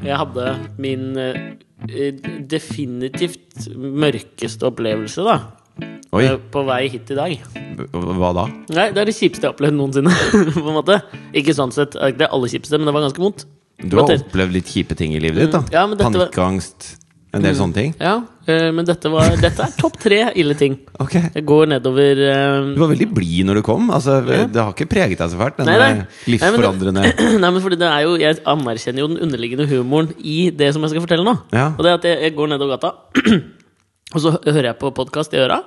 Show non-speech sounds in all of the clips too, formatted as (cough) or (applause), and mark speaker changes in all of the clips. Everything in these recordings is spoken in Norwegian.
Speaker 1: jeg hadde min eh, definitivt mørkeste opplevelse, da.
Speaker 2: Oi,
Speaker 1: Eh, På vei hit i dag.
Speaker 2: hva da?
Speaker 1: Nei, det er det kjipeste jeg har opplevd noensinne. (laughs) på en måte Ikke sånn sett, det er ikke det aller kjipeste, men det var ganske vondt.
Speaker 2: Du har
Speaker 1: Måtte-
Speaker 2: opplevd litt kjipe ting i livet ditt, da.
Speaker 1: Mm, ja, men dette var- Mm.
Speaker 2: Panikkangst, en del sånne ting.
Speaker 1: Ja, eh, men dette, var, dette er topp tre ille ting.
Speaker 2: Ok.
Speaker 1: Jeg går nedover eh, (clears throat)
Speaker 2: Du var veldig blid når du kom. Altså, Det har ikke preget deg så fælt, denne
Speaker 1: Nei, nei. Nei, men det-
Speaker 2: livsforandrende
Speaker 1: Nei, men fordi det er jo Jeg anerkjenner jo den underliggende humoren i det som jeg skal fortelle nå.
Speaker 2: Ja.
Speaker 1: Og det (clears throat) er at jeg, jeg går nedover gata, (clears throat) og så hø- hører jeg på podkast i øra.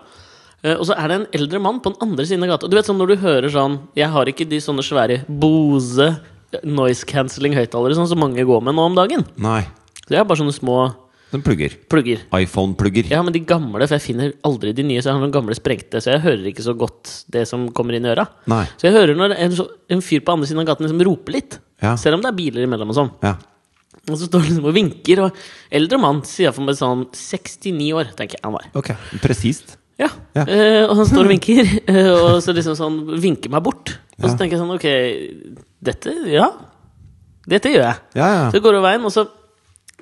Speaker 1: eh, Og så er det en eldre mann på den andre siden av gata. Du vet sånn når du hører sånn Jeg har ikke de sånne svære Bose eh, noise cancelling høyttalere sånn som mange går med nå om dagen.
Speaker 2: Nei.
Speaker 1: Så jeg har bare sånne små
Speaker 2: Den plugger.
Speaker 1: plugger.
Speaker 2: iPhone-plugger.
Speaker 1: Ja, men de gamle, for jeg finner aldri de nye, så jeg har noen gamle sprengte, så jeg hører ikke så godt det som kommer inn i øra.
Speaker 2: Nei.
Speaker 1: Så jeg hører når en, så- en fyr på andre siden av gaten liksom roper litt.
Speaker 2: Ja.
Speaker 1: Selv om det er biler imellom og sånn.
Speaker 2: Ja.
Speaker 1: Og så står han liksom og vinker, og eldre mann sier for meg sånn 69 år, tenker jeg han var.
Speaker 2: Ok. Presist.
Speaker 1: Ja.
Speaker 2: Ja.
Speaker 1: Eh, og han står og
Speaker 2: (laughs)
Speaker 1: vinker, eh, og så liksom sånn vinker meg bort. Og så
Speaker 2: Ja.
Speaker 1: tenker jeg sånn, ok, dette, ja. Dette gjør jeg.
Speaker 2: Ja,
Speaker 1: Så
Speaker 2: ja.
Speaker 1: går jeg veien, og så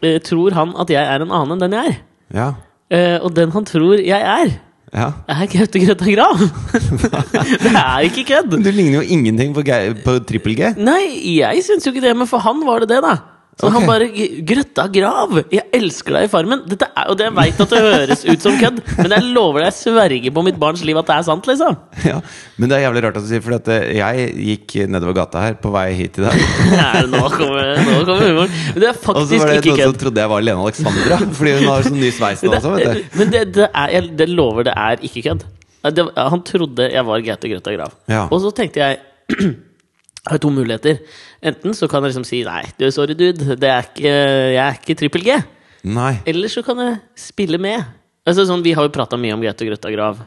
Speaker 1: eh, tror han at jeg er en annen enn den jeg er.
Speaker 2: Ja.
Speaker 1: Eh, og den han tror jeg er,
Speaker 2: ja.
Speaker 1: er Gaute Grøtta Grav. (laughs) det er ikke kødd!
Speaker 2: Men Du ligner jo ingenting på, Geir- på trippel G.
Speaker 1: Nei, jeg syns jo ikke det, men for han var det det, da. Så
Speaker 2: Ok.
Speaker 1: han bare "G- 'Grøtta Grav, jeg elsker deg i Farmen'. Dette er, og det jeg veit at det høres ut som kødd, men jeg lover deg, jeg sverger på mitt barns liv at det er sant, liksom.
Speaker 2: Ja. Men det er jævlig rart at du sier, for at eh, jeg gikk nedover gata her på vei hit i
Speaker 1: (laughs)
Speaker 2: dag.
Speaker 1: Nei, nå kommer, nå kommer humoren. Men det er
Speaker 2: Og så
Speaker 1: faktisk
Speaker 2: var det
Speaker 1: ikke
Speaker 2: noen som
Speaker 1: kødd.
Speaker 2: trodde jeg var Lene Alexandra, fordi hun har sånn ny
Speaker 1: (laughs)
Speaker 2: sveis nå også, vet du.
Speaker 1: Men det, det, er, jeg, det lover, det er ikke kødd. Det, han trodde jeg var Gaute Grøtta Grav.
Speaker 2: Ja.
Speaker 1: Og så tenkte jeg (clears throat) Jeg har to muligheter. Enten så kan jeg liksom si nei, du, sorry, dude, det er ikke, jeg er ikke trippel G.
Speaker 2: Nei.
Speaker 1: Eller så kan jeg spille med. Altså sånn, Vi har jo prata mye om Gaute Grøtta Grav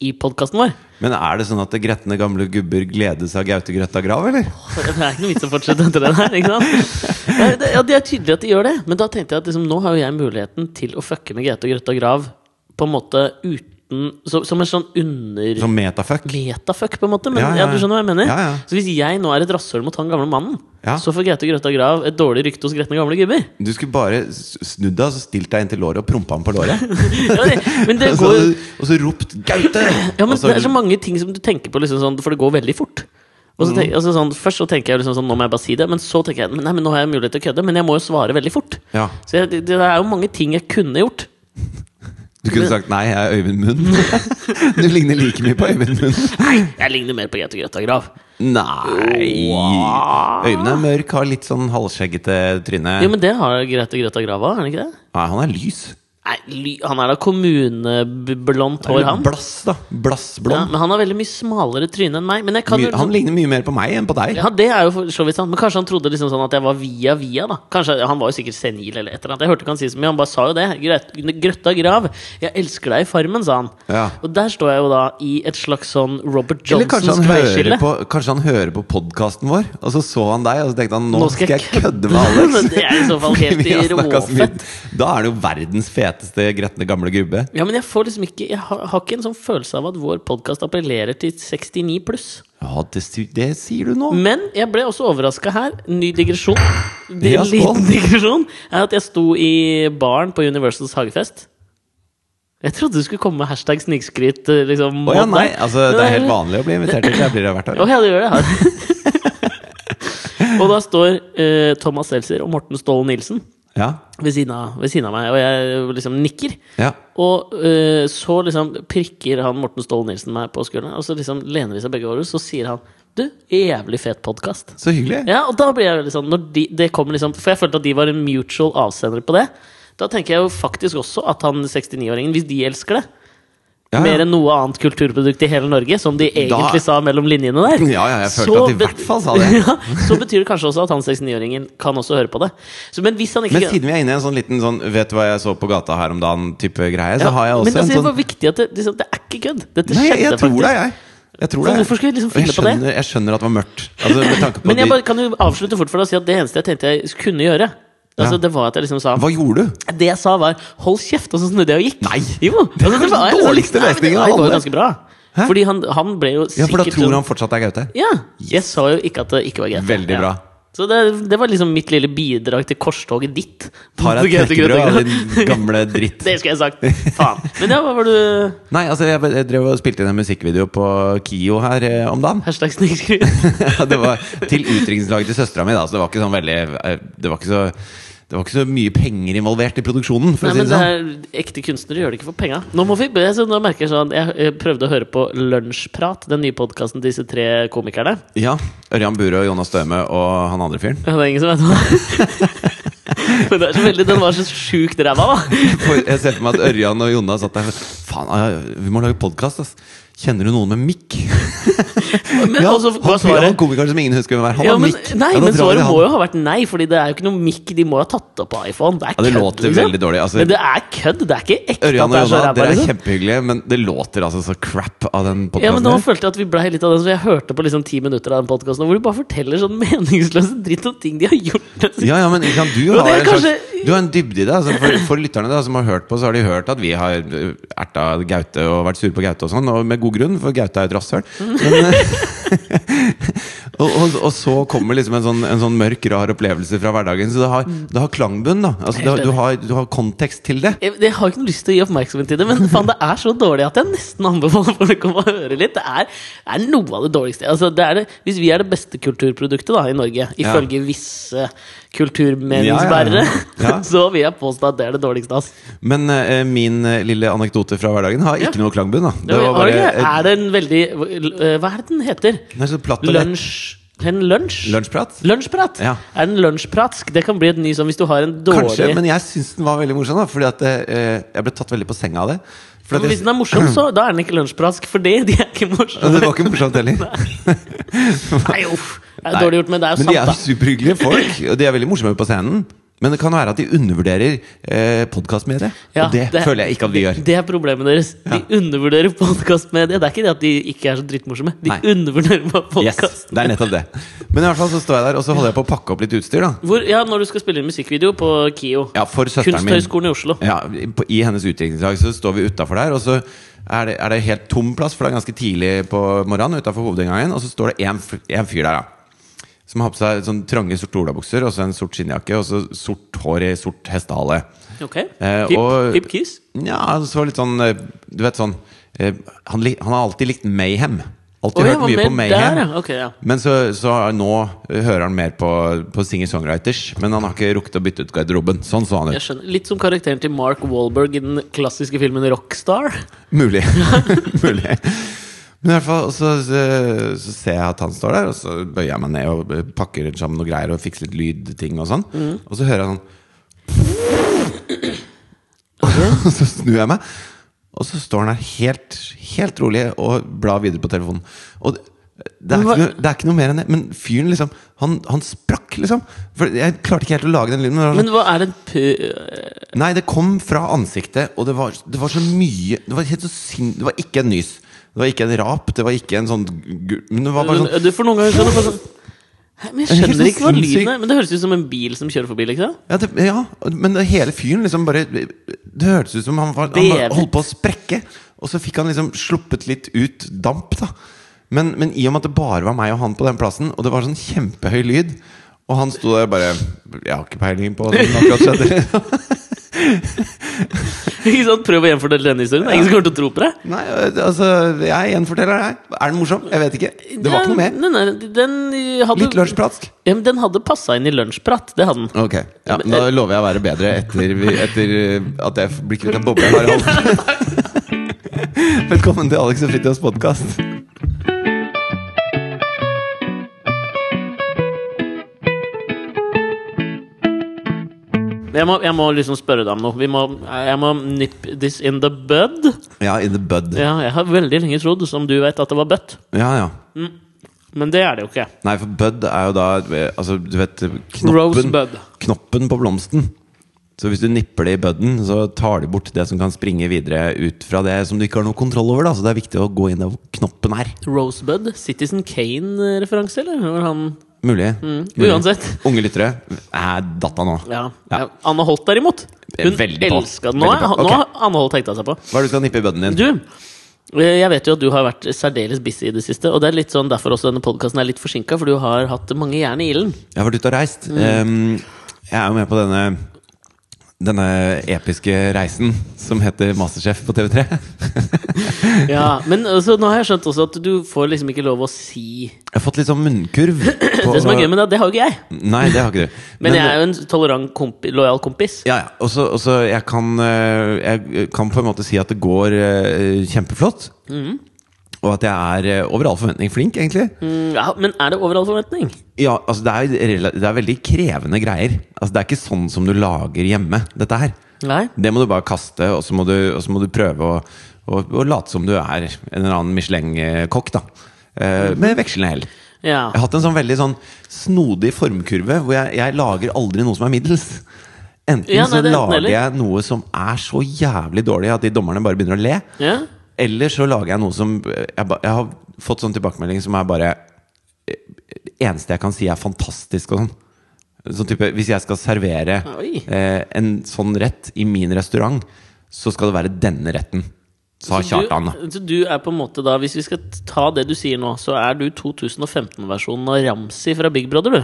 Speaker 1: i podkasten vår.
Speaker 2: Men er det sånn at det gretne gamle gubber gledes av Gaute Grøtta Grav, eller?
Speaker 1: Det er ikke noe vits å fortsette etter den her. ikke sant? Nei, det- Ja, Det er tydelig at de gjør det, men da tenkte jeg at liksom, nå har jo jeg muligheten til å fucke med Gaute Grøtta Grav på en måte uten så, Som en sånn under...
Speaker 2: Som metafuck?
Speaker 1: Metafuck, på en måte. Men ja,
Speaker 2: Ja, ja,
Speaker 1: du skjønner hva jeg mener?
Speaker 2: ja, ja.
Speaker 1: Så hvis jeg nå er et rasshøl mot han gamle mannen,
Speaker 2: Ja.
Speaker 1: så får Gaute Grøtta Grav et dårlig rykte hos gretne gamle gubber. (laughs)
Speaker 2: Du skulle bare s- snudd deg og så stilt deg inn til låret og prompa ham på låret.
Speaker 1: Ja, det- (laughs) men det
Speaker 2: og, (laughs) så,
Speaker 1: går jo
Speaker 2: hadde du- og så ropt 'Gaute!'
Speaker 1: (laughs) Ja, men
Speaker 2: og så,
Speaker 1: det er så mange ting som du tenker på, liksom sånn, for det går veldig fort. Og så
Speaker 2: Mm.
Speaker 1: tenk, altså sånn, først så tenker jeg liksom sånn, nå må jeg bare si det, men så tenker jeg men nei, men nå har jeg mulighet til å kødde, men jeg må jo svare veldig fort.
Speaker 2: ja.
Speaker 1: Så jeg, det, det er jo mange ting jeg kunne gjort.
Speaker 2: Du kunne sagt 'Nei, jeg er Øyvind Munn'. (laughs) du ligner like mye på Øyvind Munn.
Speaker 1: Nei, jeg ligner mer på Gaute Grøtta Grav.
Speaker 2: (laughs) Nei
Speaker 1: Wow.
Speaker 2: Øyvind er mørk, har litt sånn halvskjeggete tryne.
Speaker 1: Jo, men det har Gaute Grøtta Grav òg, er han ikke det?
Speaker 2: Nei, han er lys.
Speaker 1: Nei, ly- han er da kommuneblondt hår, han.
Speaker 2: Blass, da.
Speaker 1: Ja,
Speaker 2: Blassblond.
Speaker 1: men han har veldig mye smalere tryne enn meg. Men jeg kan jo liksom-
Speaker 2: Mye- han ligner mye mer på meg enn på deg.
Speaker 1: Ja, det er jo for så vidt sant. Men kanskje han trodde liksom sånn at jeg var via via, da. Kanskje, Han var jo sikkert senil eller et eller annet. Jeg hørte ikke han si så mye, han bare sa jo det. Grøt- Grøtta grav. Jeg elsker deg i Farmen, sa han.
Speaker 2: Ja.
Speaker 1: Og der står jeg jo da i et slags sånn Robert
Speaker 2: Eller kanskje han,
Speaker 1: Johnsons
Speaker 2: hører
Speaker 1: veiskille.
Speaker 2: på, kanskje han hører på podkasten vår, og så så han deg, og så tenkte han 'nå, skal jeg kødde med Alex'.
Speaker 1: Men (laughs) det er i så
Speaker 2: (laughs)
Speaker 1: fall helt
Speaker 2: Vi har snakket så mye.
Speaker 1: råfett.
Speaker 2: Da er det jo verdens feteste gretne gamle gubbe.
Speaker 1: Ja, men jeg får liksom ikke Jeg har, har ikke en sånn følelse av at vår podkast appellerer til 69 pluss.
Speaker 2: Ja, det, sy- det sier du nå.
Speaker 1: Men jeg ble også overraska her. Ny digresjon. Det
Speaker 2: Ja,
Speaker 1: er en liten
Speaker 2: skål.
Speaker 1: digresjon er at jeg sto i baren på Universals hagefest. Jeg trodde du skulle komme med hashtag snikskryt. eh, Liksom,
Speaker 2: Å ja,
Speaker 1: mot
Speaker 2: nei,
Speaker 1: meg.
Speaker 2: altså Det er helt
Speaker 1: Nei.
Speaker 2: vanlig å bli invitert til. Jeg blir det hvert år.
Speaker 1: Å ja, det gjør det. ja. (laughs) og da står eh, Thomas Seltzer og Morten Ståle Nilsen
Speaker 2: Ja,
Speaker 1: ved siden, av, ved siden av meg, og jeg liksom nikker.
Speaker 2: ja.
Speaker 1: Og eh, så liksom prikker han Morten Ståle Nilsen meg på skulderen, og så liksom lener vi seg begge over, og så sier han Du, jævlig fet podkast.
Speaker 2: Så hyggelig.
Speaker 1: Ja, og da blir jeg veldig sånn når de, det kommer liksom, For jeg følte at de var en mutual avsender på det. Da tenker jeg jo faktisk også at han 69-åringen, hvis de elsker det
Speaker 2: Ja,
Speaker 1: Mer
Speaker 2: ja.
Speaker 1: enn noe annet kulturprodukt i hele Norge, som de egentlig sa mellom linjene der.
Speaker 2: Ja, ja, jeg følte at de i
Speaker 1: bet-
Speaker 2: hvert fall sa det.
Speaker 1: (laughs) Ja, så betyr det kanskje også at han 69-åringen kan også høre på det. Så, men hvis han ikke
Speaker 2: Men siden vi er inne i en sånn liten sånn 'vet du hva jeg så på gata her om dagen'-type greie, så har jeg
Speaker 1: men
Speaker 2: også
Speaker 1: altså,
Speaker 2: en
Speaker 1: det
Speaker 2: sånn
Speaker 1: var viktig at det, liksom, det er ikke kødd. Dette
Speaker 2: Nei, jeg,
Speaker 1: skjedde
Speaker 2: jeg tror det,
Speaker 1: faktisk.
Speaker 2: jeg. Jeg tror
Speaker 1: For
Speaker 2: det jeg.
Speaker 1: hvorfor skulle jeg liksom
Speaker 2: Og jeg
Speaker 1: finne på det?
Speaker 2: skjønner, Jeg skjønner at det var mørkt. Altså, med tanke på
Speaker 1: Men jeg
Speaker 2: de-
Speaker 1: bare, kan jo avslutte fort for deg og si at det eneste jeg tenkte jeg kunne gjøre, altså,
Speaker 2: Ja.
Speaker 1: det var at jeg liksom sa
Speaker 2: Hva gjorde du?
Speaker 1: Det jeg sa, var 'hold kjeft', og så snudde jeg og gikk.
Speaker 2: Nei,
Speaker 1: jo,
Speaker 2: det er
Speaker 1: altså,
Speaker 2: den
Speaker 1: var liksom-
Speaker 2: dårligste
Speaker 1: Nei, men Det
Speaker 2: løsningen av
Speaker 1: var jo
Speaker 2: alle.
Speaker 1: ganske bra.
Speaker 2: Hæ?
Speaker 1: Fordi han, han ble jo sikkert
Speaker 2: Ja, for da tror
Speaker 1: sånn-
Speaker 2: han fortsatt det er Gaute.
Speaker 1: Ja. Jeg sa jo ikke at det ikke var greit.
Speaker 2: Veldig
Speaker 1: ja.
Speaker 2: bra.
Speaker 1: Så det, det var liksom mitt lille bidrag til korstoget ditt.
Speaker 2: Tar
Speaker 1: (laughs) Til
Speaker 2: jeg
Speaker 1: Grete
Speaker 2: et knekkebrød av
Speaker 1: Grøttinga.
Speaker 2: din gamle dritt.
Speaker 1: Det skulle jeg sagt. Faen. Men ja, hva var du
Speaker 2: (laughs) Nei, altså, jeg, jeg drev og spilte inn en musikkvideo på KIO her eh, om dagen. (laughs)
Speaker 1: Hashtag snikskryt.
Speaker 2: Ja, det var til utdrikningslaget til søstera mi, da, så det var ikke sånn veldig eh, Det var ikke så det var ikke så mye penger involvert i produksjonen. For
Speaker 1: Nei,
Speaker 2: å si
Speaker 1: men
Speaker 2: det
Speaker 1: det
Speaker 2: sånn.
Speaker 1: er, ekte kunstnere gjør det ikke for penga. Nå må vi, jeg, så nå merker jeg sånn Jeg eh, prøvde å høre på Lunsjprat, den nye podkasten til disse tre komikerne.
Speaker 2: Ja, Ørjan Burøe, Jonas Støme og han andre fyren. (laughs)
Speaker 1: Ja, Det er ingen som vet hva Men det er så veldig, den var så sjukt ræva, da.
Speaker 2: For jeg ser for meg at Ørjan og Jonas satt der Faen, ja, vi må lage podkast, ass. Kjenner du noen med mikk?
Speaker 1: (laughs) Men
Speaker 2: Ja,
Speaker 1: også
Speaker 2: han,
Speaker 1: var
Speaker 2: fyren- han
Speaker 1: svaret
Speaker 2: komikeren som ingen husker hvem er. Han
Speaker 1: ja,
Speaker 2: har
Speaker 1: men,
Speaker 2: mikk.
Speaker 1: Nei,
Speaker 2: Ja, da
Speaker 1: men
Speaker 2: drar vi
Speaker 1: svaret
Speaker 2: han.
Speaker 1: må jo ha vært nei, Fordi det er jo ikke noe mikk. De må ha tatt det på iPhone. Det er
Speaker 2: Ja, det
Speaker 1: kødd,
Speaker 2: låter
Speaker 1: liksom.
Speaker 2: veldig dårlig. Altså,
Speaker 1: Men det er kødd. Det er ikke ekte
Speaker 2: Ørjan
Speaker 1: at
Speaker 2: og
Speaker 1: det er så
Speaker 2: Jonna,
Speaker 1: ræva.
Speaker 2: dere er
Speaker 1: Liksom.
Speaker 2: kjempehyggelige, men det låter altså så crap av
Speaker 1: Ja,
Speaker 2: den
Speaker 1: men
Speaker 2: podkasten.
Speaker 1: nå følte jeg at vi blei litt av den, så jeg hørte på liksom ti minutter av den podkasten hvor de bare forteller sånn meningsløse dritt om ting de har gjort.
Speaker 2: ja, ja, men
Speaker 1: (laughs)
Speaker 2: ikke sant, du,
Speaker 1: Og
Speaker 2: har
Speaker 1: det er
Speaker 2: en slags,
Speaker 1: kanskje-
Speaker 2: du har en dybde i det. Altså, for, for lytterne da, som har hørt på, så har de hørt at vi har øh, erta Gaute og vært sure på Gaute og sånn, og med god grunn, for Gaute er et rasshøl. Men, eh, (laughs) og, og, og så kommer liksom en sånn, en sånn mørk, rar opplevelse fra hverdagen. Så det har,
Speaker 1: Mm.
Speaker 2: det har klangbunn, da. Altså, det, har- du, har, du har kontekst til det.
Speaker 1: Jeg, jeg har ikke noe lyst til å gi oppmerksomhet til det, men faen, det er så dårlig at jeg nesten anbefaler folk om å høre litt. Det er, det er noe av det dårligste. Altså, det er det, hvis vi er det beste kulturproduktet da, i Norge, ifølge visse kulturmeningsbærere,
Speaker 2: Ja, ja,
Speaker 1: (laughs)
Speaker 2: ja. Ja.
Speaker 1: så vil jeg påstå at det er det dårligste. ass.
Speaker 2: Men øh, min øh, lille anekdote fra hverdagen har ikke noe klangbunn, da.
Speaker 1: Det
Speaker 2: var bare,
Speaker 1: er det en veldig eh, Hva er det den heter?
Speaker 2: øh, nei, så platt og lett.
Speaker 1: Lunsj... En lunsj?
Speaker 2: Lunsjprat?
Speaker 1: Lunsjprat?
Speaker 2: Ja.
Speaker 1: Er den lunsjpratsk? Det kan bli et ny sånn hvis du har en dårlig
Speaker 2: Kanskje, men jeg syns den var veldig morsom. da Fordi at eh, jeg ble tatt veldig på senga av det. For at
Speaker 1: Men
Speaker 2: jeg-
Speaker 1: Hvis den er morsom, så da er den ikke lunsjpratsk, for det, de er ikke
Speaker 2: Ja,
Speaker 1: morsomme.
Speaker 2: det var ikke
Speaker 1: (laughs)
Speaker 2: morsomt heller.
Speaker 1: Nei, uff. Det er
Speaker 2: Nei.
Speaker 1: dårlig gjort, men det er jo
Speaker 2: Men de er jo
Speaker 1: sant, da.
Speaker 2: superhyggelige folk, og de er veldig morsomme på scenen. Men det kan være at de undervurderer eh, podkastmediet.
Speaker 1: Ja,
Speaker 2: og det,
Speaker 1: det-
Speaker 2: føler jeg ikke at vi gjør.
Speaker 1: Det er problemet deres. De undervurderer podkastmediet. Det er ikke det at de ikke er så drittmorsomme. De
Speaker 2: Nei.
Speaker 1: undervurderer bare
Speaker 2: Yes,
Speaker 1: podkast.
Speaker 2: det er nettopp det. Men i hvert fall så står jeg der, og så holder jeg på å pakke opp litt utstyr. da
Speaker 1: Hvor, ja, når du skal spille inn musikkvideo på KIO,
Speaker 2: Ja, for søsteren min.
Speaker 1: Kunsthøgskolen i Oslo
Speaker 2: Ja, på, I hennes utdrikningslag så står vi utafor der, og så er det, er det helt tom plass, for det er ganske tidlig på morgenen utafor hovedinngangen, og så står det én fyr der, da. Som har på seg sånn trange sorte olabukser og så en sort skinnjakke og så sort hår i sort hestehale.
Speaker 1: Ok.
Speaker 2: Eh,
Speaker 1: Hip,
Speaker 2: og-
Speaker 1: hip kiss.
Speaker 2: Nja, så var det litt sånn eh, Du vet sånn eh, han, lik- han har alltid likt Mayhem. Alltid
Speaker 1: Å, ja,
Speaker 2: hørt
Speaker 1: var
Speaker 2: mye på
Speaker 1: med
Speaker 2: Mayhem.
Speaker 1: der, ja. Ok, ja.
Speaker 2: Men så, så nå eh, hører han mer på, på singer-songwriters, men han har ikke rukket å bytte ut garderoben. Sånn så han ut.
Speaker 1: Jeg skjønner. Litt som karakteren til Mark Wahlberg i den klassiske filmen Rockstar.
Speaker 2: Mulig. (laughs) Mulig. Men i hvert fall så, så, så ser jeg at han står der, og så bøyer jeg meg ned og pakker sammen noe greier og fikser litt lydting og sånn. Og så hører jeg sånn (laughs) (laughs) Og så snur jeg meg, og så står han der helt, helt rolig og blar videre på telefonen. Og det, det, er
Speaker 1: Men hva-
Speaker 2: ikke noe, det er ikke noe mer enn det. Men fyren liksom Han, han sprakk, liksom. For jeg klarte ikke helt å lage den lyden. Men
Speaker 1: Men
Speaker 2: det var sånn-
Speaker 1: hva er en pu...
Speaker 2: Nei, det kom fra ansiktet, og det var, det var så mye Det var, helt så sin, det var ikke en nys. Det var ikke en rap, det var ikke en sånn gu- Men det var bare sånn
Speaker 1: Du får noen ganger sånn, sånn Hæ, Men jeg
Speaker 2: Det er helt
Speaker 1: skjønner ikke hva
Speaker 2: sånn
Speaker 1: lyden
Speaker 2: sinnssykt.
Speaker 1: er. Men det høres ut som en bil som kjører forbi, liksom.
Speaker 2: ja, det, ja, men det hele fyren liksom bare Det hørtes ut som han, var, han
Speaker 1: Bevet.
Speaker 2: var- holdt på å sprekke. Og så fikk han liksom sluppet litt ut damp, da. Men, men i og med at det bare var meg og han på den plassen, og det var sånn kjempehøy lyd Og han sto der bare Jeg har ikke peiling på hva som akkurat skjedde.
Speaker 1: (laughs) Ikke sant? Prøv å gjenfortelle denne historien. Det er ingen som kommer til å tro på deg.
Speaker 2: Nei, altså, jeg gjenforteller det. her. Er den morsom? Jeg vet ikke. Det var ikke noe mer.
Speaker 1: Nei, nei, den hadde,
Speaker 2: Litt lunsjpratsk.
Speaker 1: Ja, men den hadde passa inn i lunsjprat. Det hadde den.
Speaker 2: Ok, ja, men
Speaker 1: eh,
Speaker 2: Da lover jeg å være bedre etter, vi- etter uh, at jeg f- blir kvitt en boble jeg har i
Speaker 1: (laughs)
Speaker 2: halsen. Velkommen til Alex og Fritjofs podkast.
Speaker 1: Men Jeg må, jeg må liksom spørre deg om noe. Vi må, jeg må nip this in the bud.
Speaker 2: Ja, in the bud.
Speaker 1: Ja, jeg har veldig lenge trodd, som du vet, at det var bøtt.
Speaker 2: Ja, ja.
Speaker 1: Men det er det jo ikke.
Speaker 2: Nei, for bud er jo da Altså, du vet knoppen,
Speaker 1: Rosebud.
Speaker 2: knoppen på blomsten. Så hvis du nipper det i budden, så tar de bort det som kan springe videre ut fra det som du ikke har noe kontroll over. da Så det er viktig å gå inn der hvor knoppen er.
Speaker 1: Rosebud? Citizen Kane-referanse, eller? Hvor han
Speaker 2: Mulig. Mulig.
Speaker 1: Mm. Uansett.
Speaker 2: Unge lyttere, er datta nå.
Speaker 1: Ja.
Speaker 2: Ja.
Speaker 1: ja. Anne Holt, derimot. Hun
Speaker 2: Veldig på.
Speaker 1: elska den. Nå
Speaker 2: Veldig på.
Speaker 1: har nå
Speaker 2: Ok.
Speaker 1: har Anne Holt hekta seg på.
Speaker 2: Hva er det du skal nippe i budden din?
Speaker 1: Du, Eh, Jeg vet jo at du har vært særdeles busy i det siste, og det er litt sånn derfor også denne podkasten er litt forsinka, for du har hatt mange jern i ilden.
Speaker 2: Jeg har vært ute og reist.
Speaker 1: Mm.
Speaker 2: Ehm, jeg er jo med på denne denne episke reisen som heter Masterchef på TV3.
Speaker 1: Ja, men altså, nå har jeg skjønt også at du får liksom ikke lov å si
Speaker 2: Jeg har fått litt sånn
Speaker 1: (clears throat)
Speaker 2: munnkurv. På,
Speaker 1: Det som er gøy med det, det har jo ikke jeg.
Speaker 2: Nei, det har ikke
Speaker 1: (laughs)
Speaker 2: du. eh,
Speaker 1: Men jeg er jo en tolerant, kompi, lojal kompis.
Speaker 2: Ja, ja. Og så- og så jeg kan eh, Jeg kan på en måte si at det går eh, kjempeflott. Og at jeg er eh, over all forventning flink, egentlig.
Speaker 1: Mm, ja, men er det over all forventning?
Speaker 2: Ja, altså det er, rela- det er veldig krevende greier. Altså Det er ikke sånn som du lager hjemme, dette her.
Speaker 1: Nei?
Speaker 2: Det må du bare kaste, og så må du, og så må du prøve å, å, å late som du er en eller annen Michelin-kokk, da.
Speaker 1: Mm.
Speaker 2: Eh, med vekslende hell.
Speaker 1: Ja.
Speaker 2: Jeg har hatt en sånn veldig sånn snodig formkurve hvor jeg, jeg lager aldri noe som er middels. Enten
Speaker 1: Ja, nei, det
Speaker 2: så
Speaker 1: er enten
Speaker 2: lager
Speaker 1: eller.
Speaker 2: jeg noe som er så jævlig dårlig at de dommerne bare begynner å le.
Speaker 1: ja.
Speaker 2: Eller så lager jeg noe som eh, Jeg, ba- jeg har fått sånn tilbakemelding som er bare eh, eneste jeg kan si er fantastisk og sånn. Sånn type, Hvis jeg skal servere
Speaker 1: Oi.
Speaker 2: eh, en sånn rett i min restaurant, så skal det være denne retten. Sa
Speaker 1: Så du-
Speaker 2: Kjartan. da.
Speaker 1: Så du er på en måte da, hvis vi skal ta det du sier nå, så er du 2015-versjonen av Ramsi fra Big Brother, du.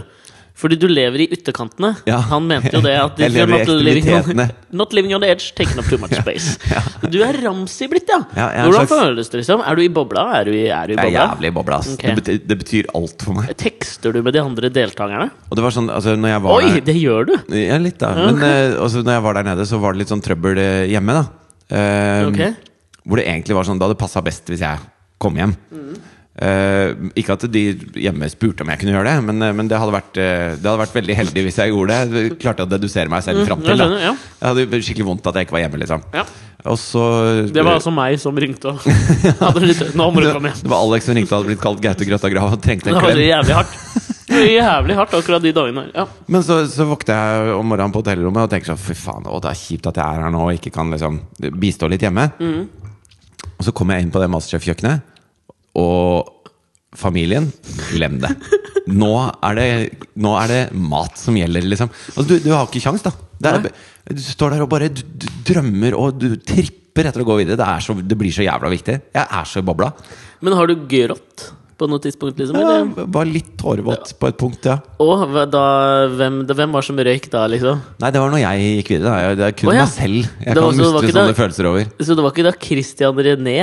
Speaker 1: Fordi du lever i ytterkantene.
Speaker 2: Ja.
Speaker 1: Han mente jo det at
Speaker 2: (laughs) Jeg
Speaker 1: you're
Speaker 2: lever i
Speaker 1: not living, on,
Speaker 2: ekstremitetene.
Speaker 1: (laughs) not living on the edge, taking up too
Speaker 2: (laughs)
Speaker 1: much space. Du er Ramsi blitt, ja.
Speaker 2: Ja, jeg er en
Speaker 1: Hvordan
Speaker 2: slags-
Speaker 1: føles det, liksom? Er du i bobla? Er du i, er du i
Speaker 2: Det er
Speaker 1: bobla?
Speaker 2: jævlig bobla. ass.
Speaker 1: Ok.
Speaker 2: Det, betyr, det betyr alt for meg.
Speaker 1: Tekster du med de andre deltakerne?
Speaker 2: Og det var sånn, altså når jeg var
Speaker 1: Oi,
Speaker 2: der
Speaker 1: det gjør du!
Speaker 2: Ja, litt da Men eh, altså, når jeg var der nede, så var det litt sånn trøbbel eh, hjemme da Eh,
Speaker 1: Ok.
Speaker 2: Hvor det egentlig var sånn, da hadde det passet best hvis jeg kom hjem Eh, Ikke at de hjemme spurte om jeg kunne gjøre det Men, eh, men det, hadde vært, eh, det hadde vært veldig heldig hvis jeg gjorde det Jeg Klarte å dedusere meg selv frem
Speaker 1: Mm, jeg
Speaker 2: til da
Speaker 1: skjønner, ja.
Speaker 2: Jeg hadde jo skikkelig vondt at jeg ikke var hjemme liksom
Speaker 1: Ja.
Speaker 2: Og så
Speaker 1: Det var altså meg som ringte og (laughs) hadde litt Nå må du
Speaker 2: det, (laughs)
Speaker 1: komme hjem.
Speaker 2: det var Alex som ringte og hadde blitt kalt Gaute Grøtta Grav Og trengte
Speaker 1: Det
Speaker 2: en
Speaker 1: var
Speaker 2: klem
Speaker 1: jævlig hardt. Det var jævlig hardt akkurat de dagene. her. Ja.
Speaker 2: Men så, så våkner jeg om morgenen på hotellrommet og tenker sånn Fy faen, å, det er kjipt at jeg er her nå og ikke kan liksom bistå litt hjemme. Og så kommer jeg inn på det Masterchef-kjøkkenet, og familien Glem det. Nå er det, nå er det mat som gjelder, liksom. Altså, du, du har ikke kjangs, da. Det er, du står der og bare du, du drømmer og du tripper etter å gå videre. Det, er så, det blir så jævla viktig. Jeg er så i bobla.
Speaker 1: Men har du grått på noe tidspunkt? liksom? Eller?
Speaker 2: Jeg var litt tårevåt på et punkt, ja.
Speaker 1: Og hva- da, hvem, da, hvem var som røyk da, liksom?
Speaker 2: Nei, det var når jeg gikk videre. Da. Jeg- Det er kun
Speaker 1: Å, ja.
Speaker 2: meg selv jeg
Speaker 1: Det var-
Speaker 2: kan
Speaker 1: så det var
Speaker 2: mustre
Speaker 1: ikke
Speaker 2: sånne
Speaker 1: det-
Speaker 2: følelser over.
Speaker 1: Så det var ikke da Christian René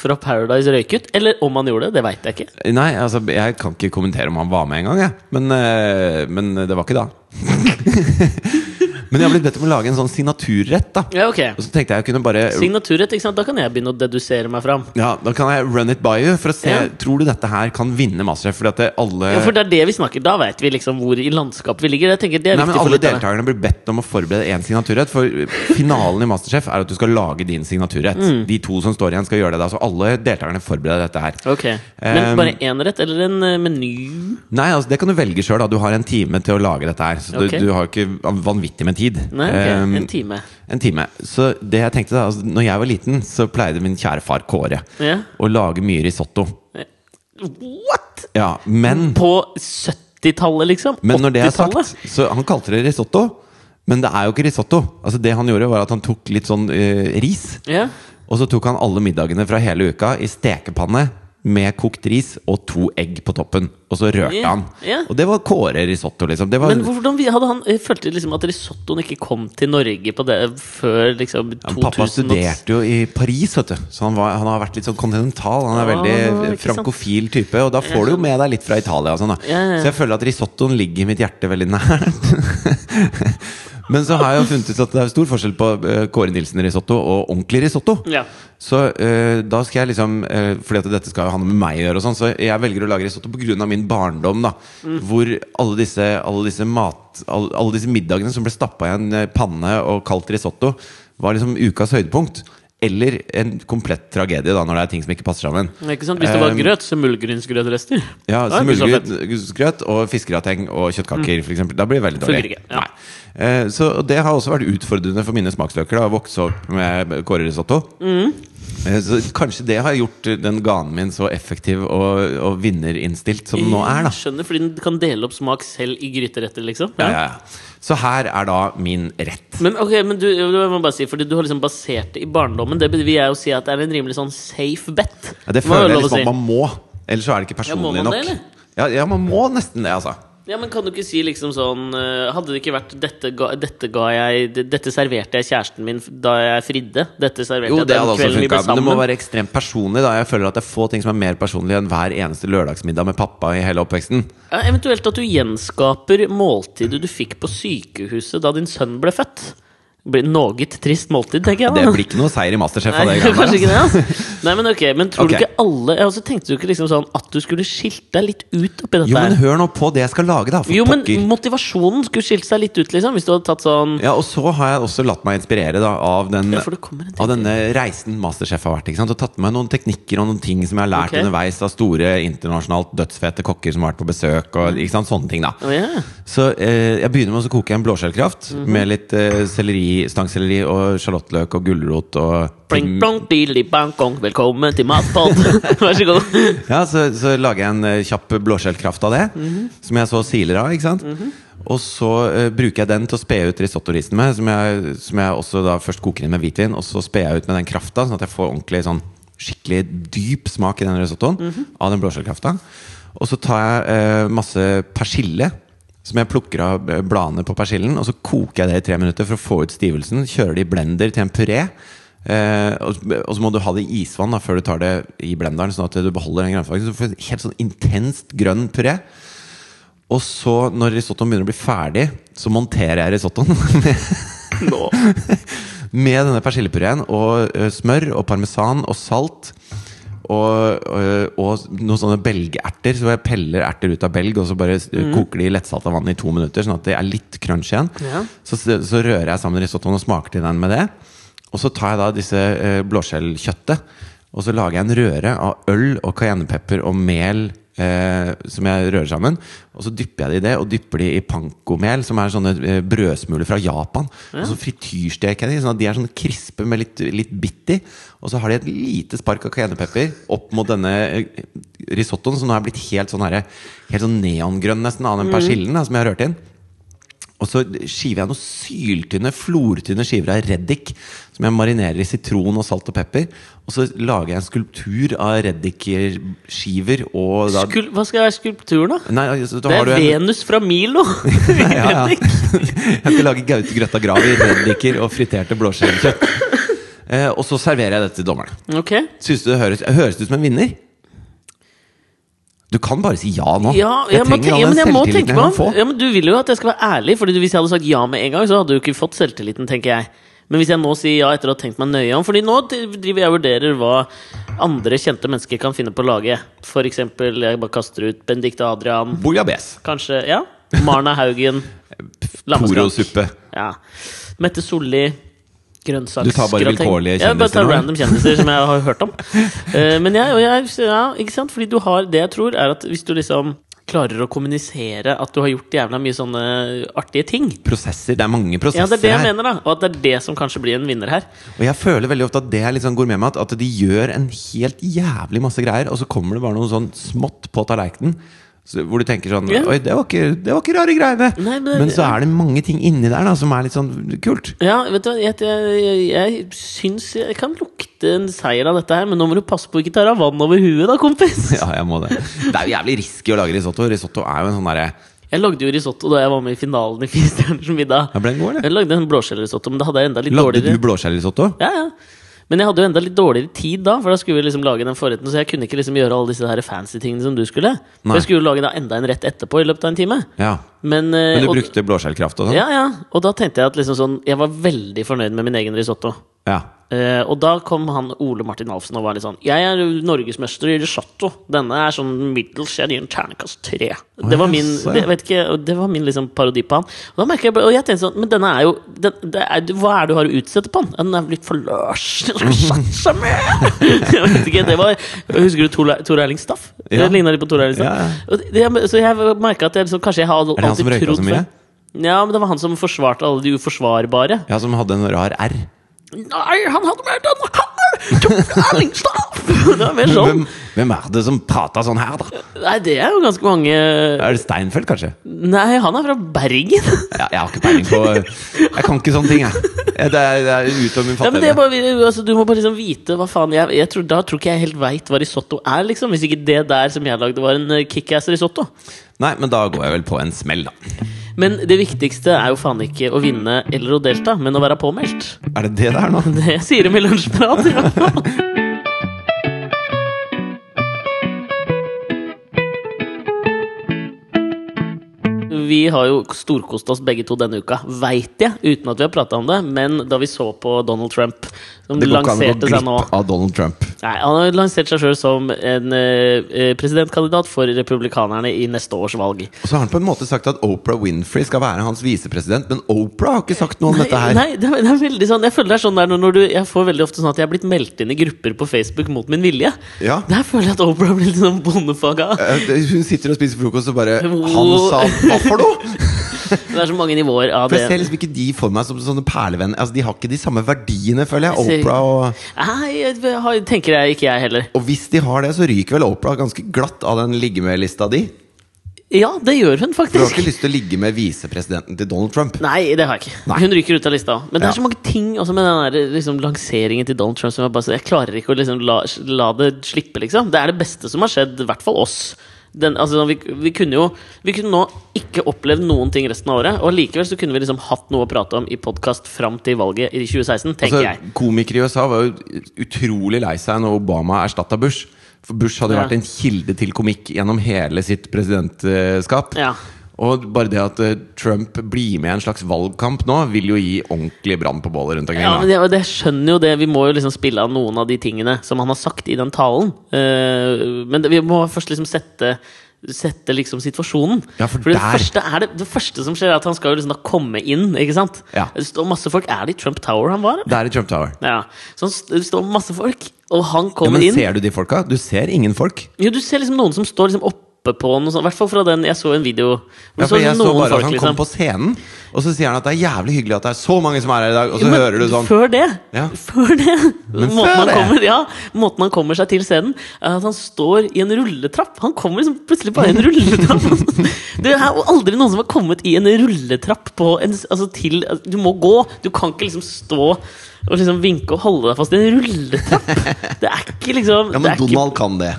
Speaker 1: fra Paradise røyk ut? Eller om han gjorde det, det veit jeg ikke.
Speaker 2: Nei, altså, jeg kan ikke kommentere om han var med engang, jeg. Men, eh, men det var ikke da. (laughs) men jeg har blitt bedt om å lage en sånn signaturrett, da.
Speaker 1: Ja, ok.
Speaker 2: Og så tenkte jeg jeg kunne bare
Speaker 1: Signaturrett, ikke sant? Da kan jeg begynne å dedusere meg fram.
Speaker 2: ja, Da kan jeg run it by you for å se
Speaker 1: Ja.
Speaker 2: Tror du dette her kan vinne Masterchef. Fordi at det, alle
Speaker 1: Ja, for det er det vi snakker, Da veit vi liksom hvor i landskapet vi ligger. Jeg tenker det er
Speaker 2: Nei, men
Speaker 1: viktig for
Speaker 2: Alle
Speaker 1: lytterne.
Speaker 2: deltakerne blir bedt om å forberede én signaturrett. For finalen i Masterchef er at du skal lage din signaturrett.
Speaker 1: Mm.
Speaker 2: De to som står igjen, skal gjøre det. Da. Så alle deltakerne forbereder dette her.
Speaker 1: Ok, Men
Speaker 2: Um,
Speaker 1: bare én rett, eller en eh, meny?
Speaker 2: Nei, altså det kan du velge sjøl. Du har en time til å lage dette her. Så
Speaker 1: Ok.
Speaker 2: du, du har jo ikke vanvittig med tid.
Speaker 1: Nei, ok,
Speaker 2: Ehm,
Speaker 1: En time.
Speaker 2: en time. Så det jeg tenkte da altså, Når jeg var liten, så pleide min kjære far Kåre
Speaker 1: Ja.
Speaker 2: å lage mye risotto.
Speaker 1: What?!
Speaker 2: Ja, men,
Speaker 1: På 70-tallet, liksom?
Speaker 2: Mm. men når det er
Speaker 1: 80-tallet?
Speaker 2: sagt Så han kalte det risotto, men det er jo ikke risotto. Altså Det han gjorde, var at han tok litt sånn eh, ris.
Speaker 1: Ja.
Speaker 2: Og så tok han alle middagene fra hele uka i stekepanne med kokt ris og to egg på toppen. Og så rørte
Speaker 1: Ja,
Speaker 2: han.
Speaker 1: ja.
Speaker 2: Og det var Kåre risotto, liksom. Det var,
Speaker 1: Men hvordan vi- hadde han jeg følte liksom at risottoen ikke kom til Norge på det før liksom 2000 og-
Speaker 2: Pappa studerte jo i Paris, vet du. Så han, var, han har vært litt sånn kontinental. Han er
Speaker 1: Ah,
Speaker 2: veldig
Speaker 1: ikke sant.
Speaker 2: frankofil type. Og da får du jo med deg litt fra Italia og sånn, da.
Speaker 1: Ja, ja, ja.
Speaker 2: Så jeg føler at risottoen ligger mitt hjerte veldig nært. (laughs) Men så har jeg jo funnet ut at det er stor forskjell på eh, Kåre Nilsen-risotto og ordentlig risotto.
Speaker 1: Ja.
Speaker 2: Så eh, da skal jeg liksom eh, Fordi at dette skal jo ha noe med meg å gjøre, og sånn så jeg velger å lage risotto pga. min barndom. da Hvor alle disse, alle disse mat alle, alle disse middagene som ble stappa i en eh, panne og kalt risotto, var liksom ukas høydepunkt. Eller en komplett tragedie, da når det er ting som ikke passer sammen.
Speaker 1: Ja, Ikke sant? Hvis det var
Speaker 2: Um,
Speaker 1: grøt, så muldgrynsgrøtrester.
Speaker 2: Ja,
Speaker 1: Da er det
Speaker 2: Smulgrøt
Speaker 1: så
Speaker 2: grøt og fiskerateng og kjøttkaker, for eksempel Da blir det veldig
Speaker 1: Funker
Speaker 2: dårlig.
Speaker 1: ikke, ja.
Speaker 2: Nei. Eh, Så og det har også vært utfordrende for mine smaksløker. da, Å vokse opp med Kåre risotto.
Speaker 1: Mm.
Speaker 2: Eh, Så kanskje det har gjort den ganen min så effektiv og, og vinnerinnstilt som den nå er, da.
Speaker 1: Skjønner, fordi den kan dele opp smak selv i gryteretter, liksom.
Speaker 2: Ja, ja, ja. Så her er da min rett.
Speaker 1: Men ok, men du, du må bare si, fordi du har liksom basert det i barndommen. Det vil jeg jo si at det er en rimelig sånn safe bet.
Speaker 2: Ja, det
Speaker 1: Må jo
Speaker 2: føler jeg
Speaker 1: lov å
Speaker 2: liksom
Speaker 1: si.
Speaker 2: at man må. Ellers så er det ikke
Speaker 1: Ja, må man
Speaker 2: personlig
Speaker 1: det,
Speaker 2: nok.
Speaker 1: eller?
Speaker 2: ja, ja, man må nesten det, altså.
Speaker 1: Ja, men kan du ikke si liksom sånn eh, Hadde det ikke vært dette ga, dette, ga jeg, d- 'Dette serverte jeg kjæresten min f- da jeg fridde'? Dette serverte
Speaker 2: Jo,
Speaker 1: jeg
Speaker 2: det
Speaker 1: den
Speaker 2: hadde også
Speaker 1: kvelden vi ble
Speaker 2: funka. Men det må
Speaker 1: sammen?
Speaker 2: være ekstremt personlig. da Jeg føler at det er få ting som er mer personlig enn hver eneste lørdagsmiddag med pappa i hele oppveksten.
Speaker 1: Ja, eventuelt at du gjenskaper måltidet du fikk på sykehuset da din sønn ble født. Det blir noe trist måltid, tenker jeg.
Speaker 2: Det
Speaker 1: da.
Speaker 2: blir ikke noe seier i Masterchef av
Speaker 1: Nei, (laughs)
Speaker 2: det. greiene
Speaker 1: kanskje
Speaker 2: der,
Speaker 1: ikke det, altså. Nei, men ok, men tror
Speaker 2: Ok.
Speaker 1: du ikke alle ja, Og så tenkte du ikke liksom sånn at du skulle skilt deg litt ut oppi dette
Speaker 2: Jo, men
Speaker 1: her?
Speaker 2: hør nå på det jeg skal lage, da. For
Speaker 1: Jo, men
Speaker 2: pokker.
Speaker 1: motivasjonen skulle skilt seg litt ut, liksom, hvis du hadde tatt sånn
Speaker 2: Ja, og så har jeg også latt meg inspirere da, av, den,
Speaker 1: Ja, for det kommer en ting
Speaker 2: av denne reisen Masterchef har vært. Ikke sant? Og tatt med meg noen teknikker og noen ting som jeg har lært
Speaker 1: Ok.
Speaker 2: underveis av store internasjonalt dødsfete kokker som har vært på besøk. Og,
Speaker 1: Mm.
Speaker 2: ikke sant? Sånne ting, da.
Speaker 1: Å, ja.
Speaker 2: Så eh, jeg begynner med å koke en blåskjellkraft
Speaker 1: Mhm.
Speaker 2: med litt eh, selleri, stangselleri og sjalottløk og gulrot og
Speaker 1: Pling, plong, dili, bang, kong, velkommen til
Speaker 2: (laughs)
Speaker 1: matpod! Vær så god.
Speaker 2: Ja, så, så lager jeg en eh, kjapp blåskjellkraft av det, som jeg så siler av. ikke sant? Og så eh, bruker jeg den til å spe ut risottorisen med, som jeg, som jeg også da først koker inn med hvitvin. Og så sper jeg ut med den krafta, sånn at jeg får ordentlig sånn skikkelig dyp smak i den risottoen av den blåskjellkrafta. Og så tar jeg eh, masse persille. Som jeg plukker av eh, bladene på persillen, og så koker jeg det i tre minutter for å få ut stivelsen. Kjører det i blender til en puré. Eh, og, og så må du ha det i isvann da, før du tar det i blenderen, sånn at du beholder den grønnfargen. Så du får en helt sånn intenst grønn puré. Og så, når risottoen begynner å bli ferdig, så monterer jeg risottoen (laughs) med,
Speaker 1: Nå.
Speaker 2: med denne persillepuréen og eh, smør og parmesan og salt. Og, og, og noen sånne belgerter. Så jeg peller erter ut av belg, og så bare eh, koker de i lettsalta vann i to minutter, sånn at det er litt crunch igjen.
Speaker 1: Ja.
Speaker 2: Så, så rører jeg sammen risottoen og smaker til den med det. Og så tar jeg da disse eh, blåskjellkjøttet, og så lager jeg en røre av øl og cayennepepper og mel. Eh, som jeg rører sammen. Og så dypper jeg det i det, og dypper de i pankomel, som er sånne eh, brødsmuler fra Japan. Og så frityrsteker jeg de, sånn at de er sånn krispe med litt, litt bitt i. Og så har de et lite spark av cayennepepper opp mot denne eh, risottoen, som nå er blitt helt sånn, herre- helt sånn neongrønn nesten av den persillen da, som jeg har rørt inn. Og så skiver jeg noen syltynne, flortynne skiver av reddik som jeg marinerer i sitron og salt og pepper. Og så lager jeg en skulptur av reddikskiver og da
Speaker 1: Skul Hva skal være skulpturen, da?
Speaker 2: Nei, altså, da
Speaker 1: Det er
Speaker 2: har du en,
Speaker 1: Venus fra
Speaker 2: (laughs)
Speaker 1: Milo!
Speaker 2: ja, ja. (laughs) Jeg skal lage Gaute Grøtta Grav i reddiker og friterte blåskjellkjøtt. Eh, og så serverer jeg dette til dommerne.
Speaker 1: Ok.
Speaker 2: Synes du det høres, høres det ut som en vinner? Du kan bare si ja nå.
Speaker 1: Ja, ja, men,
Speaker 2: trenger all
Speaker 1: ja, men
Speaker 2: den
Speaker 1: jeg må
Speaker 2: selvtilliten
Speaker 1: tenke
Speaker 2: jeg
Speaker 1: på
Speaker 2: kan få.
Speaker 1: ja, men Du vil jo at jeg skal være ærlig, Fordi du- hvis jeg hadde sagt ja med en gang, så hadde du ikke fått selvtilliten, tenker jeg. Men hvis jeg nå sier ja etter å ha tenkt meg nøye om Fordi nå driver jeg og vurderer hva andre kjente mennesker kan finne på å lage. For eksempel, jeg bare kaster ut Benedicte Adrian,
Speaker 2: Bouillabaisse.
Speaker 1: kanskje Ja. Marna Haugen. Lammeskak.
Speaker 2: Toro-suppe.
Speaker 1: Ja. Mette Solli. Grønnsaksgrateng.
Speaker 2: Du tar bare vilkårlige
Speaker 1: Ja, Jeg bare tar
Speaker 2: kjendiser nå, eller?
Speaker 1: random kjendiser som jeg har
Speaker 2: (laughs)
Speaker 1: hørt om. Eh, men jeg, og jeg, ja, ikke sant? Fordi du har det jeg tror, er at hvis du liksom klarer å kommunisere at du har gjort jævla mye sånne artige ting
Speaker 2: Prosesser. Det er mange prosesser
Speaker 1: Ja, det er det jeg
Speaker 2: her.
Speaker 1: mener, da. Og at det er det som kanskje blir en vinner her.
Speaker 2: Og jeg føler veldig ofte at det er litt sånn gourmetmat. At de gjør en helt jævlig masse greier, og så kommer det bare noe sånn smått på tallerkenen. så- Hvor du tenker sånn
Speaker 1: Ja.
Speaker 2: Oi, det var ikke, det var ikke rare greiene!
Speaker 1: Nei,
Speaker 2: men,
Speaker 1: men-
Speaker 2: så er det mange ting inni der da som er litt sånn kult. (laughs)
Speaker 1: Ja, vet du hva, jeg, jeg, jeg syns jeg kan lukte en seier av dette her, men nå må du passe på å ikke ta deg vann over huet, da, kompis.
Speaker 2: Ja, jeg må det. Det er jo jævlig risky å lage risotto. Risotto er jo en sånn derre
Speaker 1: Jeg lagde jo risotto da jeg var med i finalen i Fire stjerners middag.
Speaker 2: Ja, Ble den god, eller?
Speaker 1: Jeg lagde en blåskjellrisotto, men da hadde jeg enda litt
Speaker 2: Lagde
Speaker 1: dårligere
Speaker 2: du blåskjellrisotto?
Speaker 1: Ja, ja. Men jeg hadde jo enda litt dårligere tid da, for da skulle vi liksom lage den forretten. Så jeg kunne ikke liksom gjøre alle disse her fancy tingene som du skulle.
Speaker 2: Nei.
Speaker 1: For jeg skulle jo lage da enda en rett etterpå i løpet av en time.
Speaker 2: Ja.
Speaker 1: Men, eh,
Speaker 2: Men du
Speaker 1: og,
Speaker 2: brukte blåskjellkraft og sånn?
Speaker 1: ja, ja. og da tenkte jeg at liksom sånn Jeg var veldig fornøyd med min egen risotto.
Speaker 2: ja.
Speaker 1: Eh, og da kom han Ole Martin Alfsen og var litt sånn Jeg er norgesmester i risotto. Denne er sånn middels, jeg gir en ternekast tre. Det var min,
Speaker 2: så ja.
Speaker 1: det, jeg vet ikke, og det var min liksom parodi på han. Og da merket jeg bare- Og jeg tenkte sånn Men denne er jo den, det er, Hva er det du har å utsette på han? Ja, Den er litt for løs. (laughs) sånn, Den er satsa med. (laughs) Jeg vet ikke, det var Husker du Tor Tor Erling Staff?
Speaker 2: Ja.
Speaker 1: Det ligna litt på Tor Erling Staff.
Speaker 2: Ja, ja.
Speaker 1: Og det- Så jeg merket at jeg liksom, kanskje jeg har alltid
Speaker 2: Er det han som røyka
Speaker 1: trodd
Speaker 2: så mye?
Speaker 1: før- Ja, men det var han som forsvarte alle de uforsvarbare.
Speaker 2: ja, som hadde en rar R.
Speaker 1: Nei, han hadde mer denne her! Tor Erlingstad! (laughs) det var mer sånn.
Speaker 2: Hvem, hvem er det som prater sånn her, da?
Speaker 1: Nei, det er jo ganske mange
Speaker 2: Er det Steinfeld, kanskje?
Speaker 1: Nei, han er fra Bergen.
Speaker 2: Jeg, jeg har ikke peiling på Jeg kan ikke sånne ting, jeg. Jeg- Det er, det er utom min
Speaker 1: Ja, men det er
Speaker 2: fatteevne.
Speaker 1: bare, altså, du må bare liksom vite hva faen jeg, jeg tror, Da tror ikke jeg helt veit hva risotto er, liksom. Hvis ikke det der som jeg lagde, var en eh, kickass risotto.
Speaker 2: Nei, men da går jeg vel på en smell, da.
Speaker 1: Men det viktigste er jo faen ikke å vinne eller å delta, men å være påmeldt.
Speaker 2: Er det det det er nå?
Speaker 1: Det sier de i lunsjprat. i hvert fall. Vi har jo storkost oss begge to denne uka, veit jeg, uten at vi har prata om det. Men da vi så på Donald Trump, som
Speaker 2: Det går ikke an å gå
Speaker 1: lanserte seg nå
Speaker 2: glipp av Donald Trump.
Speaker 1: Nei, Han har lansert seg sjøl som en eh, eh, presidentkandidat for republikanerne i neste års valg.
Speaker 2: Og så har han på en måte sagt at Oprah Winfrey skal være hans visepresident, men Oprah har ikke sagt noe om dette her.
Speaker 1: Nei, det er, det er veldig sånn Jeg føler det er sånn der når- når du Jeg får veldig ofte sånn at jeg er blitt meldt inn i grupper på Facebook mot min vilje.
Speaker 2: Ja.
Speaker 1: Der føler jeg at Oprah blir litt sånn bondefaga.
Speaker 2: Eh, det- Hun sitter og spiser frokost og bare
Speaker 1: Wow.
Speaker 2: Han sa hva for
Speaker 1: (laughs)
Speaker 2: noe?!
Speaker 1: Det er så mange nivåer av
Speaker 2: For jeg ser
Speaker 1: det.
Speaker 2: liksom ikke de for meg som sånne perlevenner. Altså, de har ikke de samme verdiene, føler jeg.
Speaker 1: Jeg ser-
Speaker 2: Oprah og
Speaker 1: Nei, jeg har- tenker jeg ikke jeg heller.
Speaker 2: Og hvis de har det, så ryker vel Oprah ganske glatt av den ligge med-lista di.
Speaker 1: Ja, det gjør hun
Speaker 2: For du har
Speaker 1: faktisk.
Speaker 2: ikke lyst til å ligge med visepresidenten til Donald Trump.
Speaker 1: Nei, det har jeg ikke.
Speaker 2: Nei.
Speaker 1: Hun ryker ut av lista. også. Men det er så
Speaker 2: Ja.
Speaker 1: mange ting også med den der, liksom, lanseringen til Donald Trump som jeg bare så Jeg klarer ikke å liksom, la, la det slippe, liksom. Det er det beste som har skjedd, i hvert fall oss. Den, altså, vi, vi kunne jo Vi kunne nå ikke opplevd noen ting resten av året, og likevel så kunne vi liksom hatt noe å prate om i podkast fram til valget i 2016, tenker
Speaker 2: Altså,
Speaker 1: jeg.
Speaker 2: komikere i USA var jo utrolig lei seg når Obama erstatta Bush. For Bush hadde jo
Speaker 1: Ja.
Speaker 2: vært en kilde til komikk gjennom hele sitt presidentskap.
Speaker 1: Ja.
Speaker 2: Og bare det at eh, Trump blir med i en slags valgkamp nå, vil jo gi ordentlig brann på bålet rundt omkring.
Speaker 1: Ja,
Speaker 2: da.
Speaker 1: men det, og det skjønner jo det. Vi må jo liksom spille av noen av de tingene som han har sagt i den talen. Eh, men det, vi må først liksom sette Sette liksom situasjonen.
Speaker 2: Ja, for
Speaker 1: det,
Speaker 2: der-
Speaker 1: første er det, det første som skjer, er at han skal jo liksom da komme inn. Ikke sant?
Speaker 2: Ja.
Speaker 1: Det står masse folk Er det i Trump Tower han var? eller?
Speaker 2: Det er i Trump Tower.
Speaker 1: Ja. Så han, st- det står masse folk, og han
Speaker 2: Ja,
Speaker 1: kommer
Speaker 2: men
Speaker 1: inn.
Speaker 2: ser du de folka? Du ser ingen folk.
Speaker 1: Jo, du ser liksom noen som står liksom oppe på noe sånt. I hvert fall fra den jeg så en video. Hvor
Speaker 2: Ja,
Speaker 1: det
Speaker 2: for
Speaker 1: står
Speaker 2: jeg så
Speaker 1: noen
Speaker 2: bare at
Speaker 1: folk,
Speaker 2: han kom
Speaker 1: liksom.
Speaker 2: på scenen, og så sier han at det er jævlig hyggelig at det er så mange som er her i dag, og
Speaker 1: Jo,
Speaker 2: så
Speaker 1: men
Speaker 2: hører du sånn
Speaker 1: Før det!
Speaker 2: Ja.
Speaker 1: Før det! måten,
Speaker 2: før
Speaker 1: han
Speaker 2: det!
Speaker 1: Kommer, ja, måten han kommer seg til scenen, er at han står i en rulletrapp. Han kommer liksom plutselig bare i en rulletrapp. (laughs) Det er jo aldri noen som har kommet i en rulletrapp på en, s- altså til altså, Du må gå! Du kan ikke liksom stå og liksom vinke og holde deg fast i en rulletrapp! Det er ikke liksom
Speaker 2: Ja,
Speaker 1: det
Speaker 2: men
Speaker 1: er ikke,
Speaker 2: Donald kan det.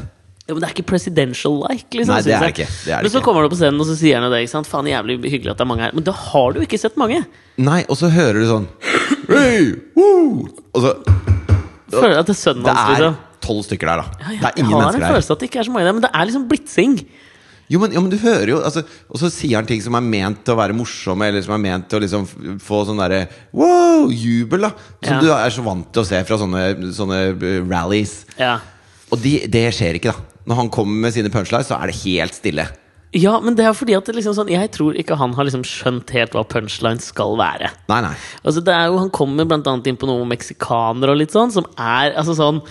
Speaker 1: ja, men det er ikke presidential-like, liksom.
Speaker 2: Nei,
Speaker 1: synes
Speaker 2: det er
Speaker 1: jeg.
Speaker 2: det ikke. Det er det
Speaker 1: men så
Speaker 2: ikke.
Speaker 1: kommer han opp på scenen, og så sier han jo det. ikke sant? Faen, jævlig hyggelig at det er mange her. Men da har du ikke sett mange.
Speaker 2: Nei, og så hører du sånn «Hey, woo!» Og så
Speaker 1: Føler at det er sønnen
Speaker 2: Det
Speaker 1: hans,
Speaker 2: er
Speaker 1: liksom.
Speaker 2: tolv stykker der, da.
Speaker 1: Ah, Ja,
Speaker 2: Det er ingen
Speaker 1: jeg har en
Speaker 2: mennesker der.
Speaker 1: følelse at det ikke er så mange der, men det er liksom blitsing.
Speaker 2: Jo, men, jo, men du hører jo altså, Og så sier han ting som er ment til å være morsomme, eller som er ment til å liksom f- få sånn derre wow, jubel, da. Som
Speaker 1: Ja.
Speaker 2: du er så vant til å se fra sånne, sånne eh, rallies.
Speaker 1: Ja.
Speaker 2: Og de, det skjer ikke, da. Når han kommer med sine punchlines, så er det helt stille.
Speaker 1: ja, men det er fordi at det liksom sånn, jeg tror ikke han har liksom skjønt helt hva punchline skal være.
Speaker 2: Nei, nei.
Speaker 1: Altså, det er jo, Han kommer blant annet inn på noe om meksikanere og litt sånn, som er altså sånn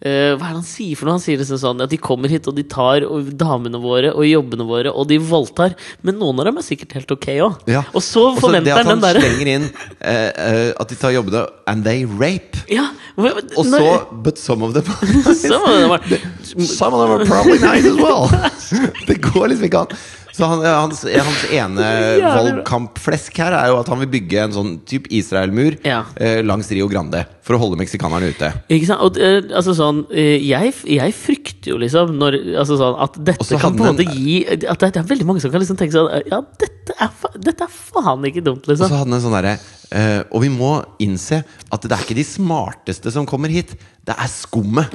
Speaker 1: eh, Hva er det han sier for noe? Han sier liksom sånn at de kommer hit, og de tar og damene våre og jobbene våre, og de voldtar. Men noen av dem er sikkert helt ok òg.
Speaker 2: Ja.
Speaker 1: Og så
Speaker 2: Og det
Speaker 1: forventer
Speaker 2: at
Speaker 1: han den
Speaker 2: han
Speaker 1: derre
Speaker 2: slenger inn eh, eh, at de tar jobbene And they rape.
Speaker 1: ja,
Speaker 2: Og så But
Speaker 1: (laughs)
Speaker 2: some of them are nice.
Speaker 1: så var det bare,
Speaker 2: Some of them
Speaker 1: (laughs)
Speaker 2: are probably nice as well. (laughs) Det går liksom ikke an. Så han, hans, hans
Speaker 1: (laughs)
Speaker 2: ene
Speaker 1: Jævlig bra.
Speaker 2: valgkampflesk her er jo at han vil bygge en sånn type Israel-mur
Speaker 1: Ja.
Speaker 2: eh, langs Rio Grande for å holde meksikanerne ute.
Speaker 1: Ikke sant? Og, eh, altså sånn, eh, jeg, jeg frykter jo liksom når, altså sånn, at
Speaker 2: Og
Speaker 1: dette
Speaker 2: så
Speaker 1: kan på en
Speaker 2: hadde
Speaker 1: måte gi At det, det er veldig mange som kan liksom tenke sånn Ja, dette er, fa dette er faen ikke dumt,
Speaker 2: Og
Speaker 1: liksom.
Speaker 2: så hadde han en sånn derre eh, Og vi må innse at det er ikke de smarteste som kommer hit. Det er
Speaker 1: (laughs)
Speaker 2: skummet.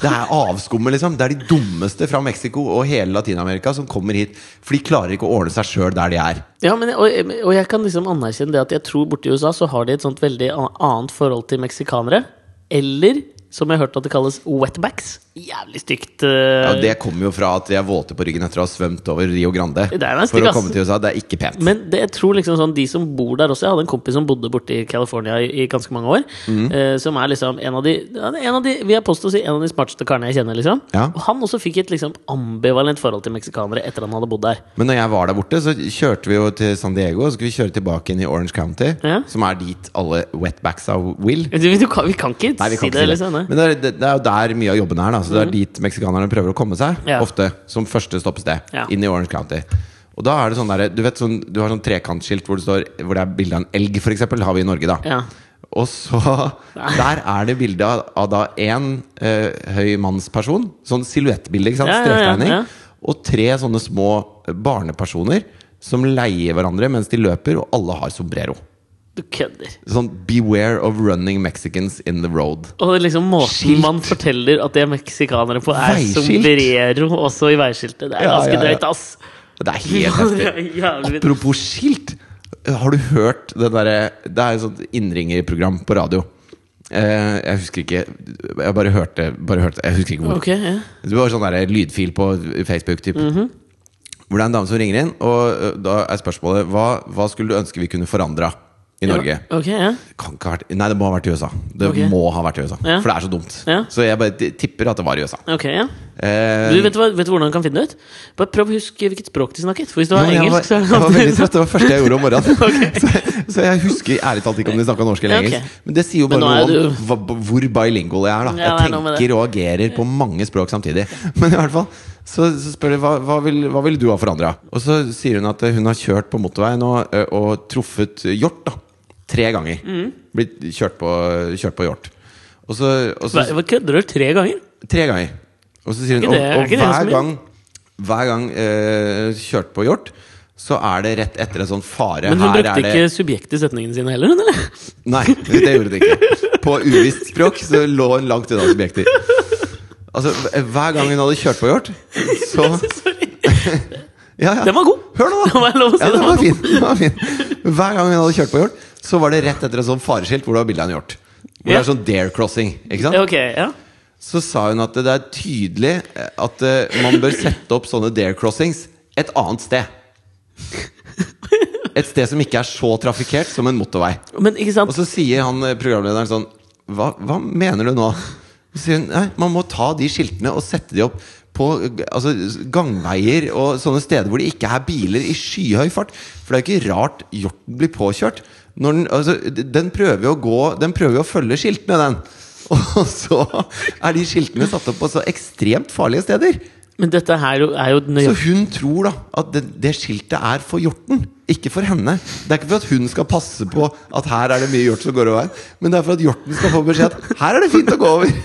Speaker 2: Det er avskummet, liksom. Det er de dummeste fra Mexico og hele Latin-Amerika som kommer hit. For de klarer ikke å ordne seg sjøl der de er.
Speaker 1: Ja, men, og, og jeg kan liksom anerkjenne det at jeg tror borti USA så har de et sånt veldig an- annet forhold til meksikanere. Eller, som jeg har hørt at det kalles, wetbacks. jævlig stygt. eh,
Speaker 2: Ja, det kommer jo fra at de er våte på ryggen etter å ha svømt over Rio Grande.
Speaker 1: Det er ganske
Speaker 2: For å
Speaker 1: gass.
Speaker 2: komme til USA. Det er ikke pent.
Speaker 1: Men det, jeg tror liksom sånn, de som bor der også Jeg hadde en kompis som bodde borte i California i, i ganske mange år.
Speaker 2: Mhm.
Speaker 1: Eh, som er liksom en av de, ja, en av de Vi har påstått å si en av de smarteste karene jeg kjenner. liksom
Speaker 2: Ja.
Speaker 1: Og han også fikk et liksom ambivalent forhold til meksikanere etter han hadde bodd der.
Speaker 2: Men når jeg var der borte, så kjørte vi jo til San Diego. Og så skulle vi kjøre tilbake inn i Orange County,
Speaker 1: Ja.
Speaker 2: som er dit alle wetbacks av Will.
Speaker 1: Du, du, kan- vi kan ikke
Speaker 2: Nei, vi
Speaker 1: si det.
Speaker 2: kan ikke si det.
Speaker 1: liksom nei.
Speaker 2: Men det er, det, det er jo der mye av jobben er. Da. Så det er dit meksikanerne prøver å komme seg.
Speaker 1: Ja.
Speaker 2: Ofte som første stoppested.
Speaker 1: Ja.
Speaker 2: Inn i Orange County. Og da er det sånn der, Du vet sånn, du har sånn trekantskilt hvor det, står, hvor det er bilde av en elg, f.eks. Har vi i Norge, da.
Speaker 1: Ja.
Speaker 2: Og så Der er det bilde av, av da én eh, høy mannsperson. Sånn silhuettbilde, ikke sant?
Speaker 1: Ja, ja, ja,
Speaker 2: Strektegning.
Speaker 1: ja.
Speaker 2: Og tre sånne små barnepersoner som leier hverandre mens de løper, og alle har sombrero.
Speaker 1: Du kødder.
Speaker 2: Sånn 'Beware of running Mexicans in the road'.
Speaker 1: Og liksom måten
Speaker 2: Skilt.
Speaker 1: man forteller at de er meksikanere på, er
Speaker 2: Veiskilt.
Speaker 1: sombrero også i veiskiltet. Det er
Speaker 2: Ja,
Speaker 1: ganske
Speaker 2: ja, ja.
Speaker 1: drøyt, ass.
Speaker 2: Det er
Speaker 1: (laughs)
Speaker 2: helt
Speaker 1: Ja, det er
Speaker 2: heftig.
Speaker 1: jævlig vidt.
Speaker 2: Apropos skilt. Har du hørt det derre Det er et sånt innringerprogram på radio. Eh, jeg husker ikke Jeg bare hørte, bare hørte Jeg husker ikke hvor.
Speaker 1: Ok, ja.
Speaker 2: Det var sånn der lydfil på Facebook. Typ.
Speaker 1: Mhm.
Speaker 2: Hvor det er en dame som ringer inn, og eh, da er spørsmålet hva, hva skulle du ønske vi kunne forandra i Norge?
Speaker 1: Ja, ok, ja.
Speaker 2: Kan ikke ha vært, nei, det må ha vært i USA. Det
Speaker 1: Ok.
Speaker 2: må ha vært i USA
Speaker 1: Ja.
Speaker 2: For det er så dumt.
Speaker 1: Ja.
Speaker 2: Så jeg bare t- tipper at det var i USA.
Speaker 1: Ok, ja.
Speaker 2: Eh,
Speaker 1: Du vet, du hva, vet du hvordan du kan finne det ut? Bare prøv å huske hvilket språk de snakket. For hvis det
Speaker 2: Jo,
Speaker 1: var
Speaker 2: jeg
Speaker 1: engelsk, så
Speaker 2: var,
Speaker 1: er det
Speaker 2: jeg var veldig
Speaker 1: alltid-
Speaker 2: trøtt. Det var det første jeg gjorde om morgenen. (laughs) så, så jeg husker ærlig talt ikke om de snakka norsk eller
Speaker 1: Ja, ok.
Speaker 2: engelsk. Men det sier jo
Speaker 1: Men
Speaker 2: bare
Speaker 1: nå er
Speaker 2: noe om hva, hvor bilingual jeg er. da
Speaker 1: Ja, det er
Speaker 2: Jeg
Speaker 1: noe med
Speaker 2: tenker og agerer på mange språk samtidig. Men i hvert fall så, så spør de hva, hva, vil, hva vil du ha forandra. Og så sier hun at eh, hun har kjørt på motorveien og, ø, og truffet hjort da tre ganger.
Speaker 1: Mm.
Speaker 2: Blitt kjørt på, kjørt på hjort. Og så, og
Speaker 1: (laughs)
Speaker 2: så
Speaker 1: Hva- hva Kødder du tre ganger?
Speaker 2: Tre ganger. Og så sier hun
Speaker 1: Ikke det-
Speaker 2: Og,
Speaker 1: er
Speaker 2: og
Speaker 1: ikke det ganske
Speaker 2: hver
Speaker 1: mye?
Speaker 2: gang, hver gang eh, kjørt på hjort, så er det rett etter en sånn fare.
Speaker 1: Men hun
Speaker 2: Her
Speaker 1: brukte
Speaker 2: er det
Speaker 1: ikke subjekt i setningene sine heller, hun, eller? (laughs)
Speaker 2: Nei, det gjorde det ikke. På uvisst språk så lå hun langt unna subjekter. Altså, hver gang hun hadde kjørt på hjort, så
Speaker 1: Sorry.
Speaker 2: ja, ja.
Speaker 1: Den var god!
Speaker 2: Hør nå,
Speaker 1: (laughs)
Speaker 2: da!
Speaker 1: Det må jeg lov å si.
Speaker 2: Ja,
Speaker 1: den
Speaker 2: den
Speaker 1: var
Speaker 2: var
Speaker 1: god.
Speaker 2: fin. Den var fin. Hver gang hun hadde kjørt på hjort, så var det rett etter en sånn fareskilt hvor det var bilde av en hjort. Hvor det
Speaker 1: Ja.
Speaker 2: er sånn dare crossing. Ikke sant?
Speaker 1: Ja, Ok, ja.
Speaker 2: så sa hun at det er tydelig at eh, man bør sette opp sånne dare crossings et annet sted. Et sted som ikke er så trafikkert som en motorvei.
Speaker 1: Men ikke
Speaker 2: Og
Speaker 1: sant?
Speaker 2: så sier han eh, programlederen sånn Hva, hva mener du nå? Så sier hun nei, man må ta de skiltene og sette de opp på eh, altså, gangveier og sånne steder hvor det ikke er biler i skyhøy fart. For det er jo ikke rart hjorten blir påkjørt. Når den, altså, d- den prøver jo å gå Den prøver jo å følge skiltene, den. (laughs) Og så er de skiltene satt opp på så ekstremt farlige steder.
Speaker 1: Men dette her jo- er jo
Speaker 2: Så
Speaker 1: nøyaktig
Speaker 2: hun tror da at det, det skiltet er for hjorten, ikke for henne. Det er ikke for at hun skal passe på at her er det mye hjort som går over veien, men det er for at hjorten skal få beskjed at her er det fint å gå over.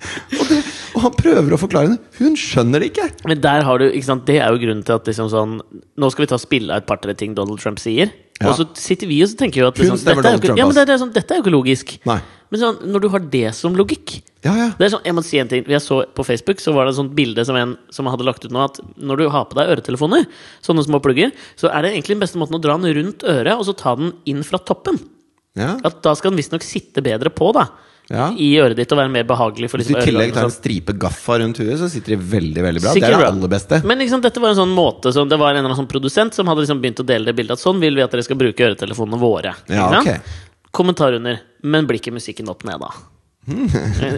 Speaker 2: (laughs) Og, det, og han prøver å forklare henne. Hun skjønner det ikke.
Speaker 1: Men der har du, ikke sant, det er jo grunnen til at liksom sånn Nå skal vi ta og spille av et par-tre ting Donald Trump sier.
Speaker 2: Ja.
Speaker 1: Og så sitter vi og så tenker jo at
Speaker 2: Hun
Speaker 1: liksom,
Speaker 2: stemmer
Speaker 1: dette, er jo
Speaker 2: Donald
Speaker 1: ikke,
Speaker 2: Trump,
Speaker 1: ja, men
Speaker 2: ass.
Speaker 1: det, det er sånn, dette er jo ikke logisk.
Speaker 2: Nei.
Speaker 1: Men sånn, når du har det som logikk
Speaker 2: Ja, ja.
Speaker 1: Det er sånn, Jeg må si en ting Jeg så På Facebook så var det et sånt bilde som en som hadde lagt ut nå, at når du har på deg øretelefoner, sånne små plugger, så er det egentlig den beste måten å dra den rundt øret og så ta den inn fra toppen.
Speaker 2: ja.
Speaker 1: At Da skal den visstnok sitte bedre på da
Speaker 2: Ja.
Speaker 1: i øret ditt og være mer behagelig. for
Speaker 2: Hvis du
Speaker 1: liksom,
Speaker 2: i tillegg
Speaker 1: øregangen og
Speaker 2: tar
Speaker 1: sånn.
Speaker 2: en stripe gaffa rundt huet, så sitter det veldig veldig bra.
Speaker 1: Sikkert
Speaker 2: det er det
Speaker 1: bra.
Speaker 2: aller beste.
Speaker 1: Men liksom, dette var en sånn måte som, Det var en eller annen sånn produsent som hadde liksom begynt å dele det bildet at sånn vil vi at dere skal bruke øretelefonene våre.
Speaker 2: Ja,
Speaker 1: Ikke sant?
Speaker 2: ok.
Speaker 1: Kommentar under. Men blir ikke musikken opp ned, da?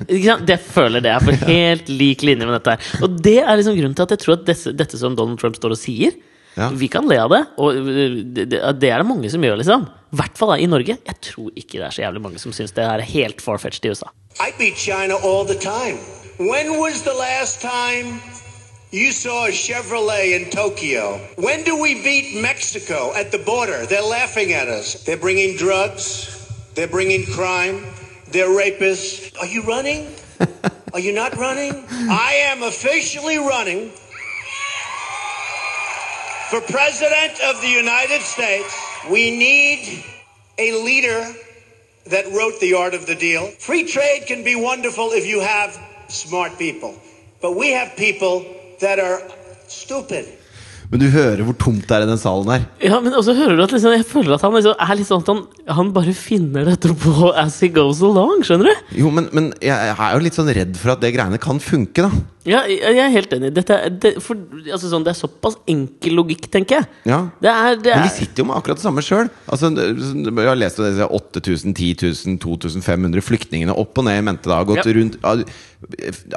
Speaker 1: Ikke sant? Det føler det er
Speaker 2: (laughs)
Speaker 1: for helt lik linje med dette her. Og det er liksom grunnen til at jeg tror at desse, dette som Donald Trump står og sier
Speaker 2: Ja.
Speaker 1: Vi kan le av det, og øh, det, det det er det mange som gjør, liksom. I hvert fall da i Norge. Jeg tror ikke det er så jævlig mange som syns det her er helt farfetched i USA.
Speaker 3: I beat China all the time. When was the last time you saw a Chevrolet in Tokyo? When do we beat Mexico at the border? They're laughing at us. They're bringing drugs. They're bringing crime. They're rapists. Are you running? Are you not running? I am officially running for President of the United States. We need a leader that wrote the art of the deal. Free trade can be wonderful if you have smart people, but we have people that are stupid.
Speaker 2: Men du hører hvor tomt det er i den salen her.
Speaker 1: Ja, men også hører du at liksom, jeg føler at han liksom er litt sånn at han, han bare finner dette på (laughs) as he goes along, skjønner du?
Speaker 2: Jo, men, men jeg jeg er jo litt sånn redd for at det greiene kan funke, da.
Speaker 1: Ja, jeg jeg er helt enig. Dette, er- det, for, altså, sånn, det er såpass enkel logikk, tenker jeg.
Speaker 2: Ja.
Speaker 1: Det er, det
Speaker 2: Men de
Speaker 1: er,
Speaker 2: sitter jo med akkurat det samme sjøl. Altså, jeg har lest om disse 8000, 10 000, 2500 flyktningene opp og ned i mente. da har gått
Speaker 1: Ja.
Speaker 2: rundt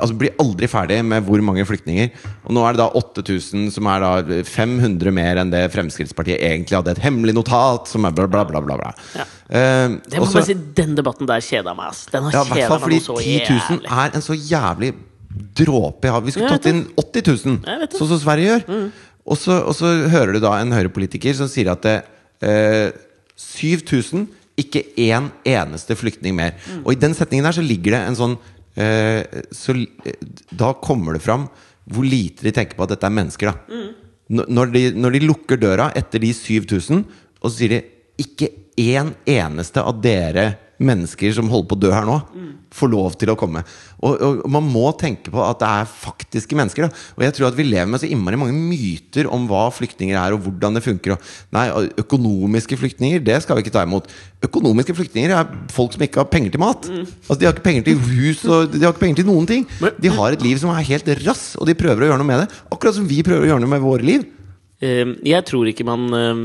Speaker 2: Altså Blir aldri ferdig med hvor mange flyktninger. Og nå er det da 8000, som er da 500 mer enn det Fremskrittspartiet egentlig hadde. Et hemmelig notat som er bla, bla, bla. bla, bla. Eh,
Speaker 1: det må
Speaker 2: og så-
Speaker 1: bare si, den debatten der kjeda meg, ass. Den har
Speaker 2: ja, i hvert
Speaker 1: kjeda
Speaker 2: fall
Speaker 1: meg
Speaker 2: fordi
Speaker 1: noe så
Speaker 2: 10 000
Speaker 1: jævlig.
Speaker 2: er en så jævlig dråpe i havet. Vi skulle
Speaker 1: Jeg vet
Speaker 2: tatt inn 80
Speaker 1: Jeg
Speaker 2: 000,
Speaker 1: vet det. Mm.
Speaker 2: sånn som Sverige gjør. Og, så, og så hører du da en høyrepolitiker som sier at det, eh, 7000, ikke én eneste flyktning mer.
Speaker 1: Mm.
Speaker 2: Og i den setningen her så ligger det en sånn eh, så, li- eh, Da kommer det fram hvor lite de tenker på at dette er mennesker, da.
Speaker 1: Mm.
Speaker 2: Når- Når, de, når de lukker døra etter de 7000, og så sier de ikke én eneste av dere mennesker som holder på å dø her nå, får lov til å komme. Og, og Man må tenke på at det er faktiske mennesker. Da. Og jeg tror at Vi lever med så innmari mange myter om hva flyktninger er, og hvordan det funker. Og, nei, økonomiske flyktninger det skal vi ikke ta imot. Økonomiske flyktninger er folk som ikke har penger til mat. Altså De har ikke penger til hus, og de har ikke penger til noen ting. De har et liv som er helt rass, og de prøver å gjøre noe med det. Akkurat som vi prøver å gjøre noe med våre liv.
Speaker 1: Eh, jeg tror ikke man eh,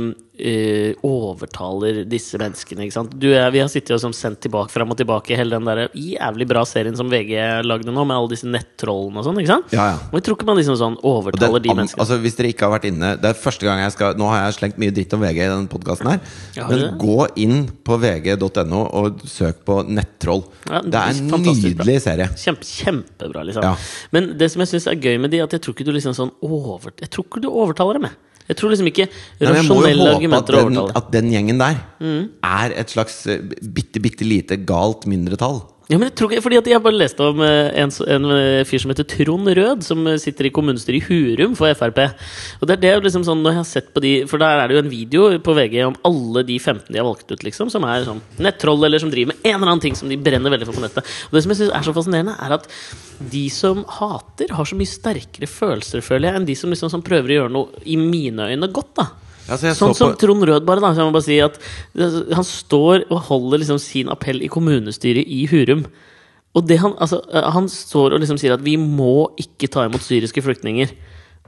Speaker 1: eh, overtaler disse menneskene. Ikke sant? Du, og jeg, vi har sittet og som sendt tilbake, fram og tilbake hele den der jævlig bra serien som VG lagde nå, med alle disse nettrollene og sånn. ikke sant?
Speaker 2: Ja, ja.
Speaker 1: Og jeg tror ikke man liksom sånn
Speaker 2: Og den
Speaker 1: overtaler de
Speaker 2: an-
Speaker 1: menneskene.
Speaker 2: Altså Hvis dere ikke har vært inne Det er første gang jeg skal Nå har jeg slengt mye dritt om VG i denne podkasten her.
Speaker 1: Ja, har du
Speaker 2: men
Speaker 1: det?
Speaker 2: gå inn på vg.no og søk på nettroll.
Speaker 1: Ja,
Speaker 2: det er en
Speaker 1: fantastisk bra.
Speaker 2: nydelig serie.
Speaker 1: Kjempe, kjempebra, liksom.
Speaker 2: Ja.
Speaker 1: Men det som jeg syns er gøy med de, er at jeg tror ikke du liksom sånn over, Jeg tror ikke du overtaler dem, jeg. Jeg tror liksom ikke
Speaker 2: Nei, men jeg må jo
Speaker 1: rasjonelle
Speaker 2: håpe at
Speaker 1: argumenter
Speaker 2: den,
Speaker 1: overtaler. Mm.
Speaker 2: at den gjengen der er et slags eh, bitte, bitte lite galt mindretall.
Speaker 1: Ja, men jeg tror ikke, fordi at jeg bare leste om eh, en, s- en eh, fyr som heter Trond Rød, som eh, sitter i kommunestyret i Hurum for Frp. Og det er det jo liksom sånn, når jeg har sett på de, For der er det jo en video på VG om alle de 15 de har valgt ut, liksom, som er sånn nettroll, eller som driver med en eller annen ting som de brenner veldig for på nettet. Og det som jeg synes er så fascinerende, er at de som hater, har så mye sterkere følelser, føler jeg, enn de som liksom som prøver å gjøre noe, i mine øyne, godt, da.
Speaker 2: Ja, så Altså, jeg
Speaker 1: Sånn
Speaker 2: så
Speaker 1: som
Speaker 2: på-
Speaker 1: Trond Rød, bare. da, så jeg må bare si at eh, Han står og holder liksom sin appell i kommunestyret i Hurum. Og det han, altså, eh, han står og liksom sier at vi må ikke ta imot syriske flyktninger.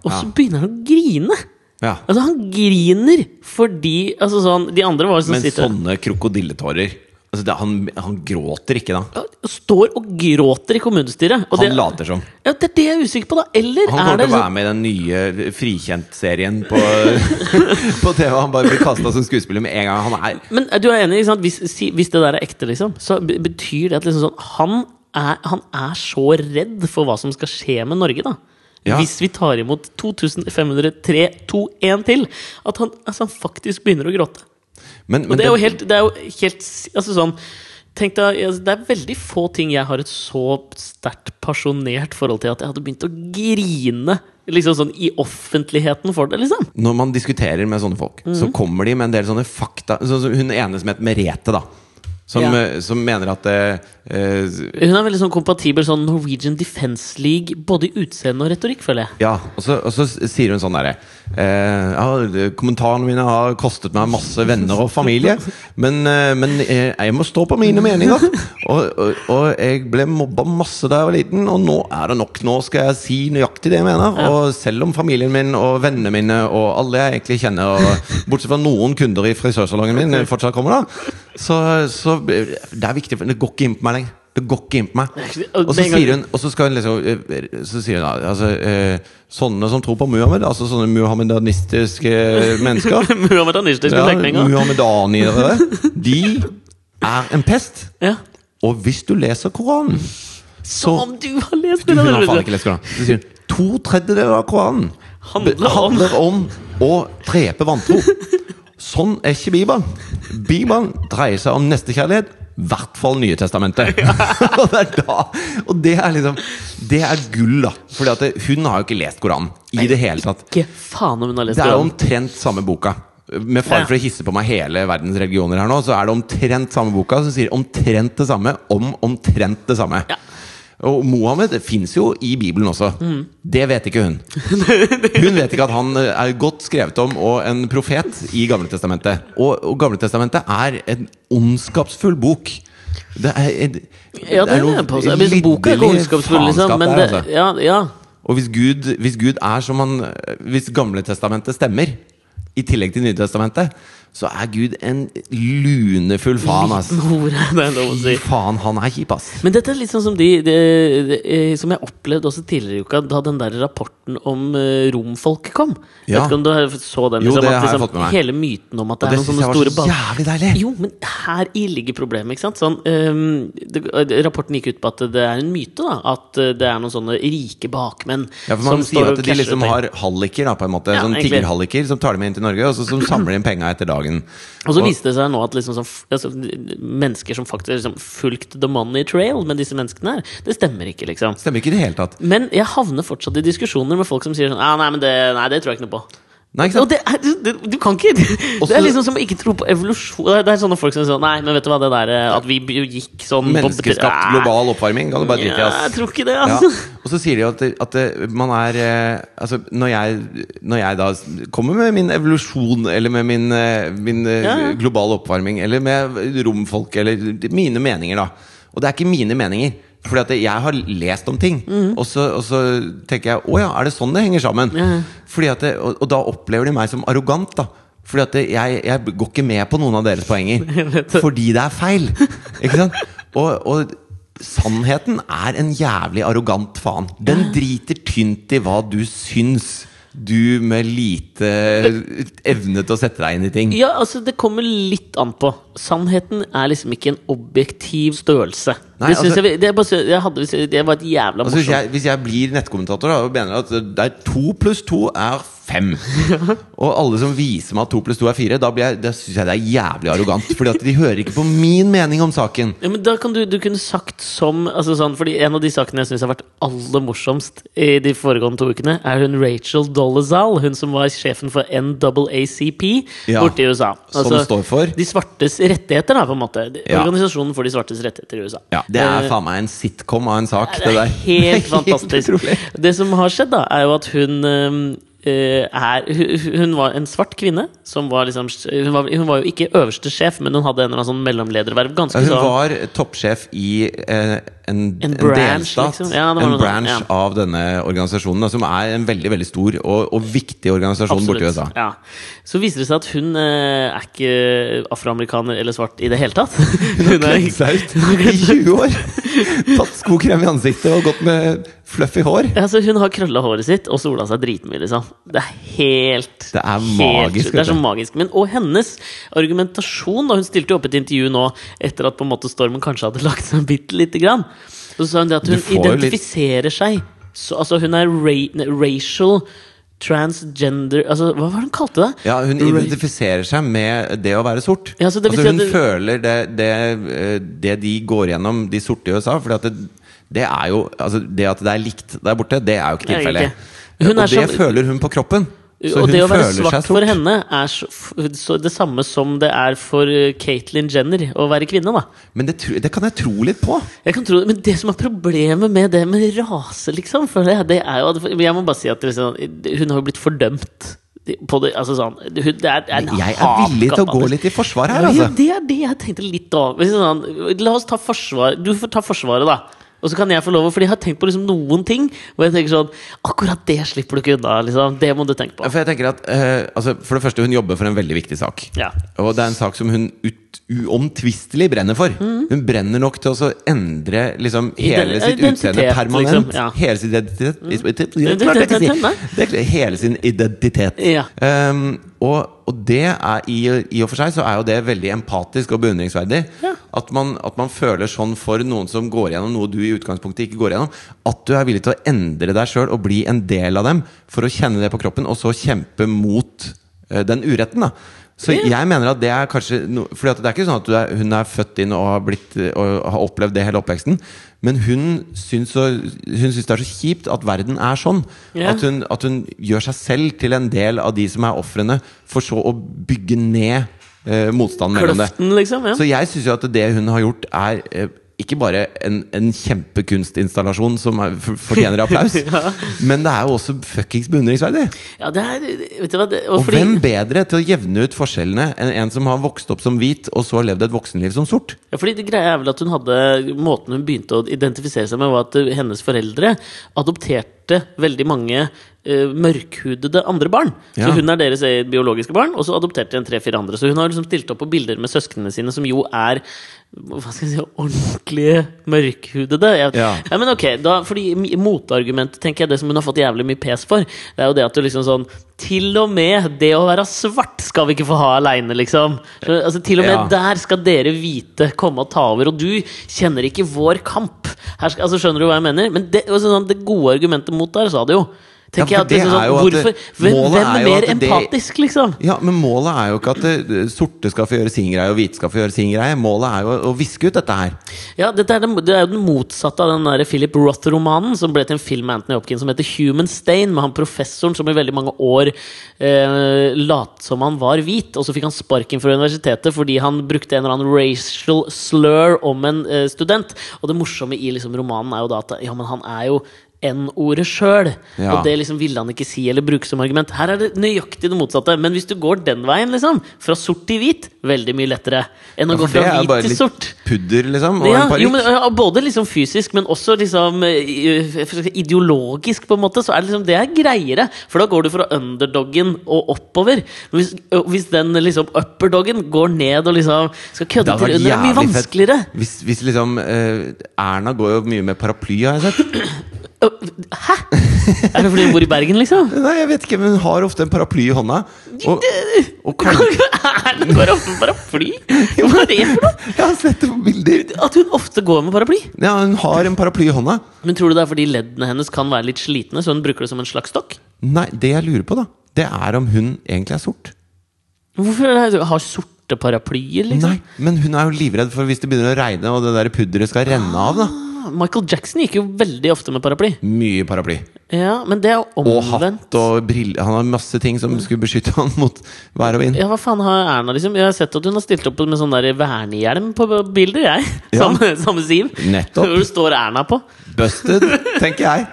Speaker 1: Og så begynner han å grine!
Speaker 2: Ja.
Speaker 1: Altså, han griner fordi altså, sånn, De andre var liksom
Speaker 2: Men sånn-
Speaker 1: sitter
Speaker 2: sånne krokodilletårer altså det, han, han gråter ikke da.
Speaker 1: Ja, Står og gråter i kommunestyret. Og
Speaker 2: Han
Speaker 1: det,
Speaker 2: later som.
Speaker 1: Ja, det er det jeg er usikker på, da. Eller
Speaker 2: Han
Speaker 1: er
Speaker 2: kommer
Speaker 1: det
Speaker 2: til å
Speaker 1: liksom-
Speaker 2: være med i den nye Frikjent-serien på, (laughs) på TV. Han bare blir kasta som skuespiller med en gang. Han er
Speaker 1: Men eh, du er enig, ikke sant? Hvis, si, hvis det der er ekte, liksom, så be- betyr det at liksom sånn, han, er, han er så redd for hva som skal skje med Norge, da.
Speaker 2: Ja.
Speaker 1: Hvis vi tar imot 2503, 2, 1 til, at han, altså, han faktisk begynner å gråte.
Speaker 2: Men, men
Speaker 1: Og det er jo helt, det er jo helt s- altså, sånn, tenk deg, altså, Det er veldig få ting jeg har et så sterkt pasjonert forhold til at jeg hadde begynt å grine liksom sånn i offentligheten for det, liksom.
Speaker 2: Når man diskuterer med sånne folk, så
Speaker 1: Mhm.
Speaker 2: kommer de med en del sånne fakta Sånn som hun ene som heter Merete, da. Som,
Speaker 1: Ja.
Speaker 2: eh, som mener at eh, eh,
Speaker 1: Hun er veldig sånn kompatibel sånn Norwegian Defence League, både i utseende og retorikk, føler jeg. (laughs)
Speaker 2: Ja, og så, og så s- sier hun sånn derre eh, ja, Kommentarene mine har kostet meg masse venner og familie, men, eh, men eh, jeg må stå på mine meninger. Og, og, og jeg ble mobba masse da jeg var liten, og nå er det nok. Nå skal jeg si nøyaktig det jeg mener. Og selv om familien min og vennene mine og alle jeg egentlig kjenner, og bortsett fra noen kunder i frisørsalongen min, eh, fortsatt kommer, da, så, så eh, det er viktig, for det går ikke inn på meg lenger. Det går ikke inn på meg.
Speaker 1: Og
Speaker 2: Og så
Speaker 1: den gangen-
Speaker 2: sier hun og så skal hun liksom eh, Så sier hun da altså, eh, Sånne som tror på Muhammed, altså sånne muhammedanistiske mennesker
Speaker 1: Muhammed Anishters
Speaker 2: ja,
Speaker 1: betenkninger.
Speaker 2: Muhammedaniere, de er en pest.
Speaker 1: Ja.
Speaker 2: Og hvis du leser Koranen så,
Speaker 1: Som om du har lest
Speaker 2: Hun
Speaker 1: den!
Speaker 2: har faen ikke lest Koranen. Så sier hun to tredjedeler av Koranen
Speaker 1: Handler
Speaker 2: be-
Speaker 1: om-
Speaker 2: handler om å drepe vantro. Sånn er ikke Bibelen. Bibelen dreier seg om nestekjærlighet. I hvert fall Nye
Speaker 1: (laughs)
Speaker 2: Testamentet. og, det er da, og det er liksom Det er gull, da. Fordi at det, hun har jo ikke lest Koranen i det hele tatt.
Speaker 1: Ikke faen om hun har lest
Speaker 2: Det er jo
Speaker 1: den.
Speaker 2: omtrent samme boka. Med fare for å hisse på meg hele verdens religioner her nå, så er det omtrent samme boka som sier omtrent det samme om omtrent det samme.
Speaker 1: Ja.
Speaker 2: Og Mohammed fins jo i Bibelen også. Det vet ikke hun. Hun vet ikke at han eh, er godt skrevet om og en profet i Gamletestamentet. Og, og Gamletestamentet er en ondskapsfull bok. Det er, en,
Speaker 1: Ja, det er
Speaker 2: noe
Speaker 1: det på seg. Men Boka er ikke
Speaker 2: lidderlig
Speaker 1: ondskapsfull, liksom.
Speaker 2: faenskap
Speaker 1: Men
Speaker 2: der,
Speaker 1: det,
Speaker 2: altså.
Speaker 1: ja, ja.
Speaker 2: Og hvis Gud, hvis Gud er som han Hvis Gamletestamentet stemmer, i tillegg til Nytestamentet, så er Gud en lunefull faen,
Speaker 1: (laughs)
Speaker 2: ass.
Speaker 1: Liten hore, det er lov å si.
Speaker 2: Fy faen, han er kjip, ass.
Speaker 1: Men dette er litt sånn som de, de, de eh, Som jeg opplevde også tidligere i uka, da den der rapporten om eh, romfolk kom. Jeg
Speaker 2: Ja.
Speaker 1: vet ikke om du har- så den?
Speaker 2: Jo,
Speaker 1: Liksom,
Speaker 2: det
Speaker 1: at,
Speaker 2: har jeg
Speaker 1: liksom,
Speaker 2: fått med meg.
Speaker 1: Hele myten om at det,
Speaker 2: Og det
Speaker 1: er noen
Speaker 2: synes
Speaker 1: sånne
Speaker 2: jeg var
Speaker 1: store
Speaker 2: så
Speaker 1: ball...
Speaker 2: jævlig deilig.
Speaker 1: Jo, men her i ligger problemet, ikke sant? Sånn, ehm, det, eh, rapporten gikk ut på at det er en myte, da. At eh, det er noen sånne rike bakmenn
Speaker 2: Ja, for Man
Speaker 1: som
Speaker 2: sier
Speaker 1: står
Speaker 2: at
Speaker 1: og
Speaker 2: de
Speaker 1: casher ut
Speaker 2: liksom
Speaker 1: penger.
Speaker 2: har halliker, da, på en måte.
Speaker 1: Ja,
Speaker 2: sånn
Speaker 1: egentlig.
Speaker 2: tiggerhalliker som tar dem inn til Norge, og så som samler inn penga etter dagen.
Speaker 1: Og så viste det seg nå at liksom sånn, f- altså, mennesker som faktisk liksom, fulgte the money trail med disse menneskene her, det stemmer ikke, liksom.
Speaker 2: Stemmer ikke i det hele tatt.
Speaker 1: Men jeg havner fortsatt i diskusjoner med folk som sier sånn ah, nei, men det, nei, det tror jeg ikke noe på.
Speaker 2: Nei, ikke
Speaker 1: Og
Speaker 2: sant?
Speaker 1: det er, du, du, du kan ikke (laughs) Det
Speaker 2: Også-
Speaker 1: er liksom som å ikke tro på evolusjon. Det er- Det er sånne folk som sier sånn Nei, men vet du hva, det der eh, at vi b- gikk sånn på-
Speaker 2: Menneskeskapt global oppvarming. Kan du bare drite i,
Speaker 1: Ja,
Speaker 2: ass.
Speaker 1: jeg tror ikke det,
Speaker 2: Ja.
Speaker 1: altså.
Speaker 2: Og så sier de jo at, at man er eh, Altså, når jeg, når jeg da kommer med min evolusjon, eller med min, eh, min eh,
Speaker 1: Ja, ja.
Speaker 2: globale oppvarming, eller med romfolk, eller mine meninger, da. Og det er ikke mine meninger. Fordi at jeg har lest om ting,
Speaker 1: Mhm.
Speaker 2: og, så, og så tenker jeg Å ja, er det sånn det henger sammen? Fordi at det, og, og da opplever de meg som arrogant, da. Fordi at det, jeg, jeg går ikke med på noen av
Speaker 1: (laughs)
Speaker 2: deres poenger. Fordi det er feil! Ikke sant? Og, og sannheten er en jævlig arrogant faen. Den driter tynt i hva du syns. Du med lite evne til å sette deg inn i ting.
Speaker 1: (laughs) Ja, altså Det kommer litt an på. Sannheten er liksom ikke en objektiv størrelse.
Speaker 2: Nei,
Speaker 1: det, synes
Speaker 2: altså-
Speaker 1: jeg, vi- det, er bare, så- jeg hadde, det var et jævla
Speaker 2: Altså, hvis,
Speaker 1: morsomt
Speaker 2: jeg, hvis jeg blir nettkommentator da, og mener at det er to pluss to er fem, og alle som viser meg at to pluss to er fire, da, blir jeg- da syns jeg det er jævlig arrogant. Fordi at de hører ikke på min mening om saken.
Speaker 1: Ja, men da kan du, du kunne sagt som altså sånn, Fordi En av de sakene jeg syns har vært aller morsomst i de foregående to ukene, er hun Rachel Dolezal, hun som var sjefen for NAACP
Speaker 2: Ja,
Speaker 1: borte i USA. Altså,
Speaker 2: som står for?
Speaker 1: De svartes rettigheter, da, på en måte. De-
Speaker 2: Ja.
Speaker 1: Organisasjonen for de svartes rettigheter i USA.
Speaker 2: Det er
Speaker 1: Eh,
Speaker 2: faen meg en sitcom av en sak, det
Speaker 1: det
Speaker 2: der.
Speaker 1: er
Speaker 2: (laughs)
Speaker 1: helt fantastisk.
Speaker 2: utrolig.
Speaker 1: Det som har skjedd, da, er jo at hun eh, er hu- Hun var en svart kvinne. Som var liksom, hun, var, hun var jo ikke øverste sjef, men hun hadde en eller annen sånn mellomlederverv.
Speaker 2: Ja,
Speaker 1: Ganske
Speaker 2: Hun
Speaker 1: sånn
Speaker 2: var toppsjef i eh, en, en,
Speaker 1: branch,
Speaker 2: delstat.
Speaker 1: liksom. Ja, det var
Speaker 2: en
Speaker 1: noe sånt,
Speaker 2: branch
Speaker 1: ja.
Speaker 2: av denne organisasjonen, da, som er en veldig veldig stor og, og viktig organisasjon borti USA.
Speaker 1: Ja. Så viser det seg at hun eh, er ikke afroamerikaner eller svart i det hele tatt. (laughs) Hun er
Speaker 2: Kledd seg
Speaker 1: (laughs)
Speaker 2: ut i 20 år! Tatt skokrem i ansiktet og gått med fluffy hår.
Speaker 1: Altså, hun har krølla håret sitt og sola seg dritmye. Liksom. Det er helt
Speaker 2: Det er
Speaker 1: helt-
Speaker 2: magisk,
Speaker 1: Det er så
Speaker 2: vet du.
Speaker 1: magisk. Men, og hennes argumentasjon da Hun stilte jo opp et intervju nå etter at på en måte stormen kanskje hadde (laughs) lagt seg bitte lite grann. Så sa hun det at
Speaker 2: Du
Speaker 1: hun
Speaker 2: får jo litt-
Speaker 1: identifiserer seg så, Altså, hun er ra ne, racial transgender Altså, hva var det hun kalte det?
Speaker 2: Ja, Hun
Speaker 1: Ra-
Speaker 2: identifiserer seg med det å være sort.
Speaker 1: Ja, så det vil
Speaker 2: altså
Speaker 1: si at
Speaker 2: Hun
Speaker 1: det-
Speaker 2: føler det, det, eh, det de går gjennom, de sorte i USA. Fordi at det, det er jo altså Det at det er likt der borte, det er jo ikke
Speaker 1: Det er jo
Speaker 2: tilfellet.
Speaker 1: ikke. Hun
Speaker 2: Og
Speaker 1: er
Speaker 2: det
Speaker 1: som-
Speaker 2: føler hun på kroppen. Så
Speaker 1: og
Speaker 2: hun
Speaker 1: det å være
Speaker 2: føler
Speaker 1: svart
Speaker 2: seg sort.
Speaker 1: for henne er så, f- så det samme som det er for eh, Caitlyn Jenner å være kvinne, da.
Speaker 2: Men det, tro- det kan jeg tro litt på.
Speaker 1: Jeg kan tro det, Men det som er problemet med det med rase, liksom for det, det er jo at, men Jeg må bare si at liksom, hun har jo blitt fordømt. På det, altså sånn, hun, det er, det er en
Speaker 2: Jeg er villig til å gå litt i forsvar her,
Speaker 1: Ja,
Speaker 2: altså.
Speaker 1: det er det jeg tenkte litt over. Hvis Sånn, la oss ta forsvar Du får ta Forsvaret, da. Og så kan jeg få lov, Fordi jeg har tenkt på liksom noen ting hvor jeg tenker sånn Akkurat det slipper du ikke unna. Liksom. Det må du tenke på.
Speaker 2: For jeg tenker at eh, altså, For det første, hun jobber for en veldig viktig sak.
Speaker 1: Ja.
Speaker 2: Og det er en sak som hun ut, uomtvistelig brenner for. Hun brenner nok til å så endre liksom, hele
Speaker 1: Mm. Ident-
Speaker 2: sitt
Speaker 1: identitet,
Speaker 2: utseende permanent.
Speaker 1: liksom, ja.
Speaker 2: Hele sin identitet Jeg
Speaker 1: Identitet,
Speaker 2: klarte ikke å si.
Speaker 1: nei.
Speaker 2: Det er Hele sin identitet.
Speaker 1: Ja.
Speaker 2: Ehm, og, og det er i, i og for seg så er jo det veldig empatisk og beundringsverdig.
Speaker 1: Ja.
Speaker 2: At, man, at man føler sånn for noen som går gjennom noe du i utgangspunktet ikke går gjennom. At du er villig til å endre deg sjøl og bli en del av dem for å kjenne det på kroppen, og så kjempe mot eh, den uretten. da så
Speaker 1: Ja.
Speaker 2: jeg mener at det er kanskje no, Fordi at det er ikke sånn at du er, hun er født inn og har, blitt, eh, og har opplevd det hele oppveksten. Men hun syns, så, hun syns det er så kjipt at verden er sånn.
Speaker 1: Ja.
Speaker 2: At, hun, at hun gjør seg selv til en del av de som er ofrene, for så å bygge ned eh, motstanden mellom det.
Speaker 1: Kløften, liksom. Ja.
Speaker 2: Så jeg syns jo at det hun har gjort, er eh, ikke bare en, en kjempekunstinstallasjon som er, f- fortjener
Speaker 1: (laughs)
Speaker 2: applaus, men det er jo også fuckings beundringsverdig.
Speaker 1: Ja, det er Vet du hva det,
Speaker 2: Og hvem bedre til å jevne ut forskjellene enn en som har vokst opp som hvit, og så levd et voksenliv som sort?
Speaker 1: Ja, fordi det greia er vel at hun hadde Måten hun begynte å identifisere seg med, var at eh, hennes foreldre adopterte veldig mange eh, mørkhudede andre barn.
Speaker 2: Ja.
Speaker 1: Så hun er deres eh, biologiske barn, og så adopterte hun tre-fire andre. Så hun har liksom stilt opp på bilder med søsknene sine, som jo er hva skal jeg si, ordentlige mørkhudede. Jeg,
Speaker 2: Ja.
Speaker 1: Nei, men ok, da, fordi mi- Motargumentet tenker jeg det som hun har fått jævlig mye pes for, det er jo det at du liksom sånn Til og med det å være svart skal vi ikke få ha aleine, liksom. Så, altså, til og med
Speaker 2: Ja.
Speaker 1: der skal dere vite komme og ta over, og du kjenner ikke vår kamp. Her skal, altså, skjønner du hva jeg mener? Men det, altså, sånn, det gode argumentet mot der sa det jo. Tenker jeg
Speaker 2: Ja, for
Speaker 1: at
Speaker 2: det
Speaker 1: liksom,
Speaker 2: er
Speaker 1: sånn,
Speaker 2: jo at det-
Speaker 1: hvorfor, hvem,
Speaker 2: målet
Speaker 1: hvem
Speaker 2: er
Speaker 1: er
Speaker 2: jo
Speaker 1: mer
Speaker 2: at det-
Speaker 1: empatisk, liksom?
Speaker 2: Ja, men målet er jo ikke at eh, sorte skal få gjøre sin greie, og hvite skal få gjøre sin greie. Målet er jo å- å viske ut dette her.
Speaker 1: Ja, dette er den, Det er jo den motsatte av den der Philip Roth-romanen som ble til en film med Anthony Hopkins som heter Human Stain, med han professoren som i veldig mange år eh, lot som han var hvit, og så fikk han sparken fra universitetet fordi han brukte en eller annen racial slur om en eh, student. Og det morsomme i liksom, romanen er jo da at ja, men han er jo N-ordet sjøl.
Speaker 2: Ja.
Speaker 1: Og det liksom ville han ikke si eller bruke som argument. Her er det nøyaktig det motsatte. Men hvis du går den veien, liksom, fra sort til hvit, veldig mye lettere enn å gå
Speaker 2: For det
Speaker 1: fra
Speaker 2: er jo
Speaker 1: hvit
Speaker 2: bare
Speaker 1: til
Speaker 2: litt
Speaker 1: sort.
Speaker 2: pudder, liksom, og
Speaker 1: Ja,
Speaker 2: en
Speaker 1: jo, men,
Speaker 2: parykk.
Speaker 1: ja, både liksom fysisk, men også liksom eh, i- for å si ideologisk, på en måte. Så er det liksom Det er greiere, for da går du fra underdoggen og oppover. Men hvis, og hvis den liksom upperdoggen går ned og liksom skal kødde til under, det er mye vanskeligere.
Speaker 2: Hvis, hvis liksom eh, Erna går jo mye med paraply, har jeg sett. (laughs)
Speaker 1: Ø, Hæ?! Er det fordi hun bor i Bergen, liksom?
Speaker 2: Nei, jeg vet ikke, men hun har ofte en paraply i hånda. Og, og (laughs) kan,
Speaker 1: Erna går ofte med paraply? Hva er det for noe?
Speaker 2: (laughs) jeg har sett det på bilder.
Speaker 1: At hun ofte går med paraply?
Speaker 2: Ja, hun har en paraply i hånda.
Speaker 1: Men tror du det er fordi leddene hennes kan være litt slitne, så hun bruker det som en slags stokk?
Speaker 2: Nei, det jeg lurer på, da, det er om hun egentlig er sort.
Speaker 1: Hvorfor er det- har sorte paraplyer, liksom?
Speaker 2: Nei, men hun er jo livredd for hvis det begynner å regne og det der pudderet skal renne av, da.
Speaker 1: Ah. Michael Jackson gikk jo veldig ofte med paraply.
Speaker 2: Mye paraply.
Speaker 1: Ja, Men det er jo
Speaker 2: Og
Speaker 1: omvendt.
Speaker 2: hatt og briller. Han har masse ting som skulle beskytte han mot vær og vind.
Speaker 1: Ja, hva faen har Erna, liksom? Jeg har sett at hun har stilt opp med sånn der vernehjelm på bilder, jeg.
Speaker 2: Ja.
Speaker 1: (laughs) Samme, samme Siv.
Speaker 2: Nettopp.
Speaker 1: Hvor det står Erna på.
Speaker 2: Busted, tenker jeg.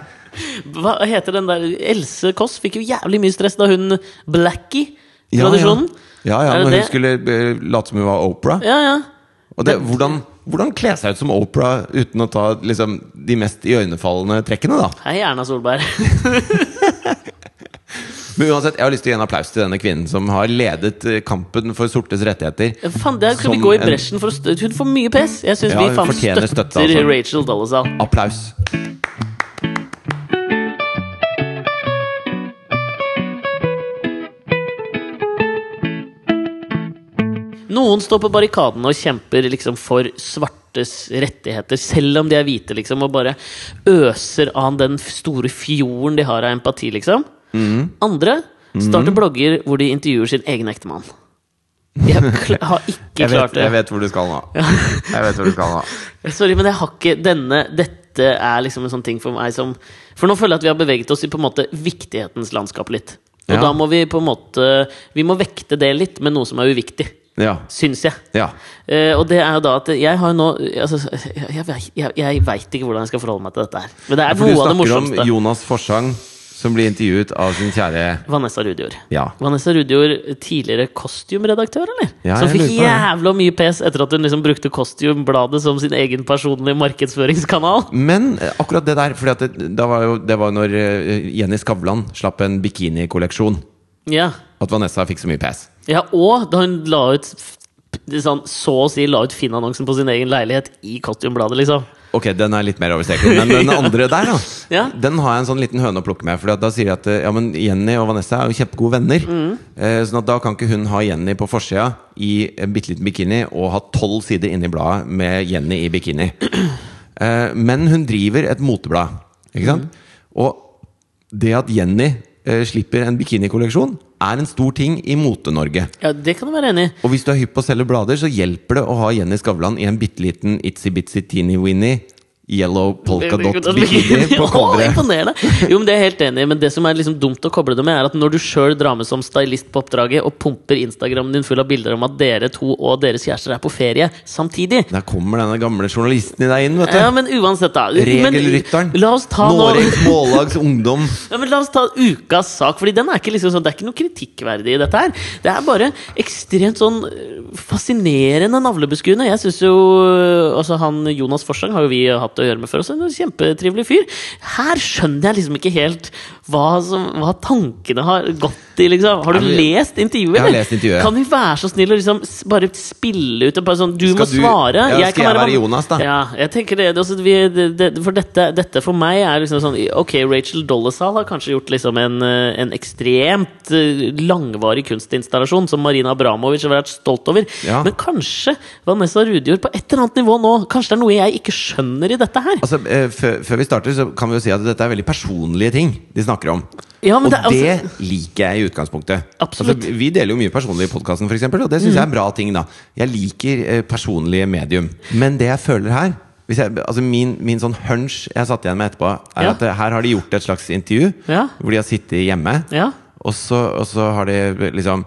Speaker 1: Hva heter den der Else Kåss fikk jo jævlig mye stress da hun
Speaker 2: (laughs) Ja,
Speaker 1: Blackie-tradisjonen.
Speaker 2: Ja, ja,
Speaker 1: Er det
Speaker 2: når
Speaker 1: det?
Speaker 2: hun skulle eh, late som hun var Opera.
Speaker 1: Ja, ja.
Speaker 2: Og det, hvordan, hvordan kle seg ut som Opera uten å ta liksom, de mest iøynefallende trekkene, da?
Speaker 1: Hei, Erna Solberg. (laughs)
Speaker 2: Men uansett, jeg har lyst til å gi en applaus til denne kvinnen som har ledet eh, kampen for sortes rettigheter.
Speaker 1: Faen, der skal
Speaker 2: Som
Speaker 1: vi gå i
Speaker 2: en-
Speaker 1: bresjen for å støtte Hun får mye pes. Jeg syns
Speaker 2: Ja,
Speaker 1: vi
Speaker 2: hun
Speaker 1: faen
Speaker 2: fortjener
Speaker 1: støtter
Speaker 2: støtte, altså.
Speaker 1: Rachel Dolezal.
Speaker 2: Applaus.
Speaker 1: Noen står på barrikadene og kjemper liksom for svartes rettigheter, selv om de er hvite, liksom, og bare øser av den f- store fjorden de har av empati, liksom.
Speaker 2: Mm.
Speaker 1: Andre starter blogger hvor de intervjuer sin egen ektemann. Jeg kl- har ikke
Speaker 2: (laughs) Jeg
Speaker 1: klart
Speaker 2: vet,
Speaker 1: det.
Speaker 2: jeg vet hvor du skal nå. (laughs) Jeg vet hvor du skal nå.
Speaker 1: Sorry, men jeg har ikke denne Dette er liksom en sånn ting for meg som For nå føler jeg at vi har beveget oss i på en måte viktighetens landskap litt. Og
Speaker 2: Ja.
Speaker 1: da må vi på en måte Vi må vekte det litt med noe som er uviktig.
Speaker 2: Ja.
Speaker 1: Syns jeg.
Speaker 2: ja.
Speaker 1: Eh, og det er jo da at jeg har jo nå altså, Jeg, vet- jeg, jeg veit ikke hvordan jeg skal forholde meg til dette her. Men det er
Speaker 2: For du
Speaker 1: noe av det
Speaker 2: snakker
Speaker 1: morsomste.
Speaker 2: om Jonas Forsang som blir intervjuet av sin kjære
Speaker 1: Vanessa Rudjord.
Speaker 2: Ja.
Speaker 1: Vanessa Rudjord, tidligere kostymeredaktør, eller?
Speaker 2: Ja,
Speaker 1: som
Speaker 2: jeg
Speaker 1: fikk
Speaker 2: lurer
Speaker 1: jævla mye pes etter at hun liksom brukte Kostymbladet som sin egen personlige markedsføringskanal.
Speaker 2: Men eh, akkurat det der, for det, da var jo, det var når eh, Jenny Skavlan slapp en bikinikolleksjon.
Speaker 1: Ja.
Speaker 2: At Vanessa fikk så mye pes.
Speaker 1: ja, og da hun la ut f- det sånn, så å si la ut Finn-annonsen på sin egen leilighet i Kostymbladet, liksom.
Speaker 2: Ok, den er litt mer over streken. Men den andre der, da.
Speaker 1: Ja.
Speaker 2: Den har jeg en sånn liten høne å plukke med. For da sier de at eh, ja, men Jenny og Vanessa er jo kjempegode venner. Eh, sånn at da kan ikke hun ha Jenny på forsida i en bitte liten bikini og ha tolv sider inni bladet med Jenny i bikini. Eh, men hun driver et moteblad. Ikke sant? Og det at Jenny eh, slipper en bikinikolleksjon, er en stor ting i Mote-Norge.
Speaker 1: Ja, det kan du være enig i.
Speaker 2: Og hvis du er hypp på å selge blader, så hjelper det å ha Jenny Skavlan i en bitte liten itsy-bitsy teeny-weeny yellow polka dot bikini (laughs)
Speaker 1: (laughs)
Speaker 2: på
Speaker 1: Å,
Speaker 2: coveret.
Speaker 1: imponerende! Jo, men Det er jeg helt enig i, men det som er liksom dumt å koble det med, er at når du sjøl drar med som stylist på oppdraget og pumper Instagramen din full av bilder om at dere to og deres kjærester er på ferie samtidig
Speaker 2: Der kommer denne gamle journalisten i deg inn, vet du.
Speaker 1: Ja, men uansett, da. Men
Speaker 2: Regelrytteren.
Speaker 1: La oss ta nå
Speaker 2: Noregs Mållags ungdom.
Speaker 1: Ja, men La oss ta ukas sak, Fordi den er ikke liksom sånn, det er ikke noe kritikkverdig i dette. her Det er bare ekstremt sånn øh, fascinerende navlebeskuende. Jeg synes jo øh, altså han Jonas Forsang har jo vi hatt å gjøre med før. Også, en kjempetrivelig fyr. Her skjønner jeg liksom ikke helt hva, som, hva tankene har gått i. liksom Har du
Speaker 2: Jeg-
Speaker 1: lest intervjuet?
Speaker 2: Jeg har
Speaker 1: eller?
Speaker 2: lest intervjuet.
Speaker 1: Kan vi være så snill å liksom s- bare spille ut og bare sånn Du
Speaker 2: Skal
Speaker 1: må
Speaker 2: du-
Speaker 1: svare.
Speaker 2: Ja, skal jeg være
Speaker 1: van-
Speaker 2: Jonas, da?
Speaker 1: ja, jeg tenker det, det, er også, vi, det, det For dette, dette for meg er liksom sånn Ok, Rachel Dolezal har kanskje gjort liksom en, eh, en ekstremt eh, langvarig kunstinstallasjon som Marina Abramovic har vært stolt over.
Speaker 2: Ja.
Speaker 1: Men kanskje Vanessa Rudjord på et eller annet nivå nå Kanskje det er noe jeg ikke skjønner i dette her?
Speaker 2: Altså, eh, før, før vi starter, så kan vi jo si at dette er veldig personlige ting de snakker om.
Speaker 1: Ja, men
Speaker 2: og
Speaker 1: det
Speaker 2: det,
Speaker 1: er altså-
Speaker 2: liker jeg i utgangspunktet.
Speaker 1: Absolutt.
Speaker 2: Altså, vi deler jo mye personlig i podkasten, og det syns jeg er en bra ting. da Jeg liker eh, personlige medium. Men det jeg føler her hvis jeg, altså min, min sånn hunch jeg satt igjen med etterpå, er
Speaker 1: Ja.
Speaker 2: at eh, her har de gjort et slags intervju.
Speaker 1: Ja.
Speaker 2: Hvor de har sittet hjemme,
Speaker 1: Ja.
Speaker 2: og, så, og så har de liksom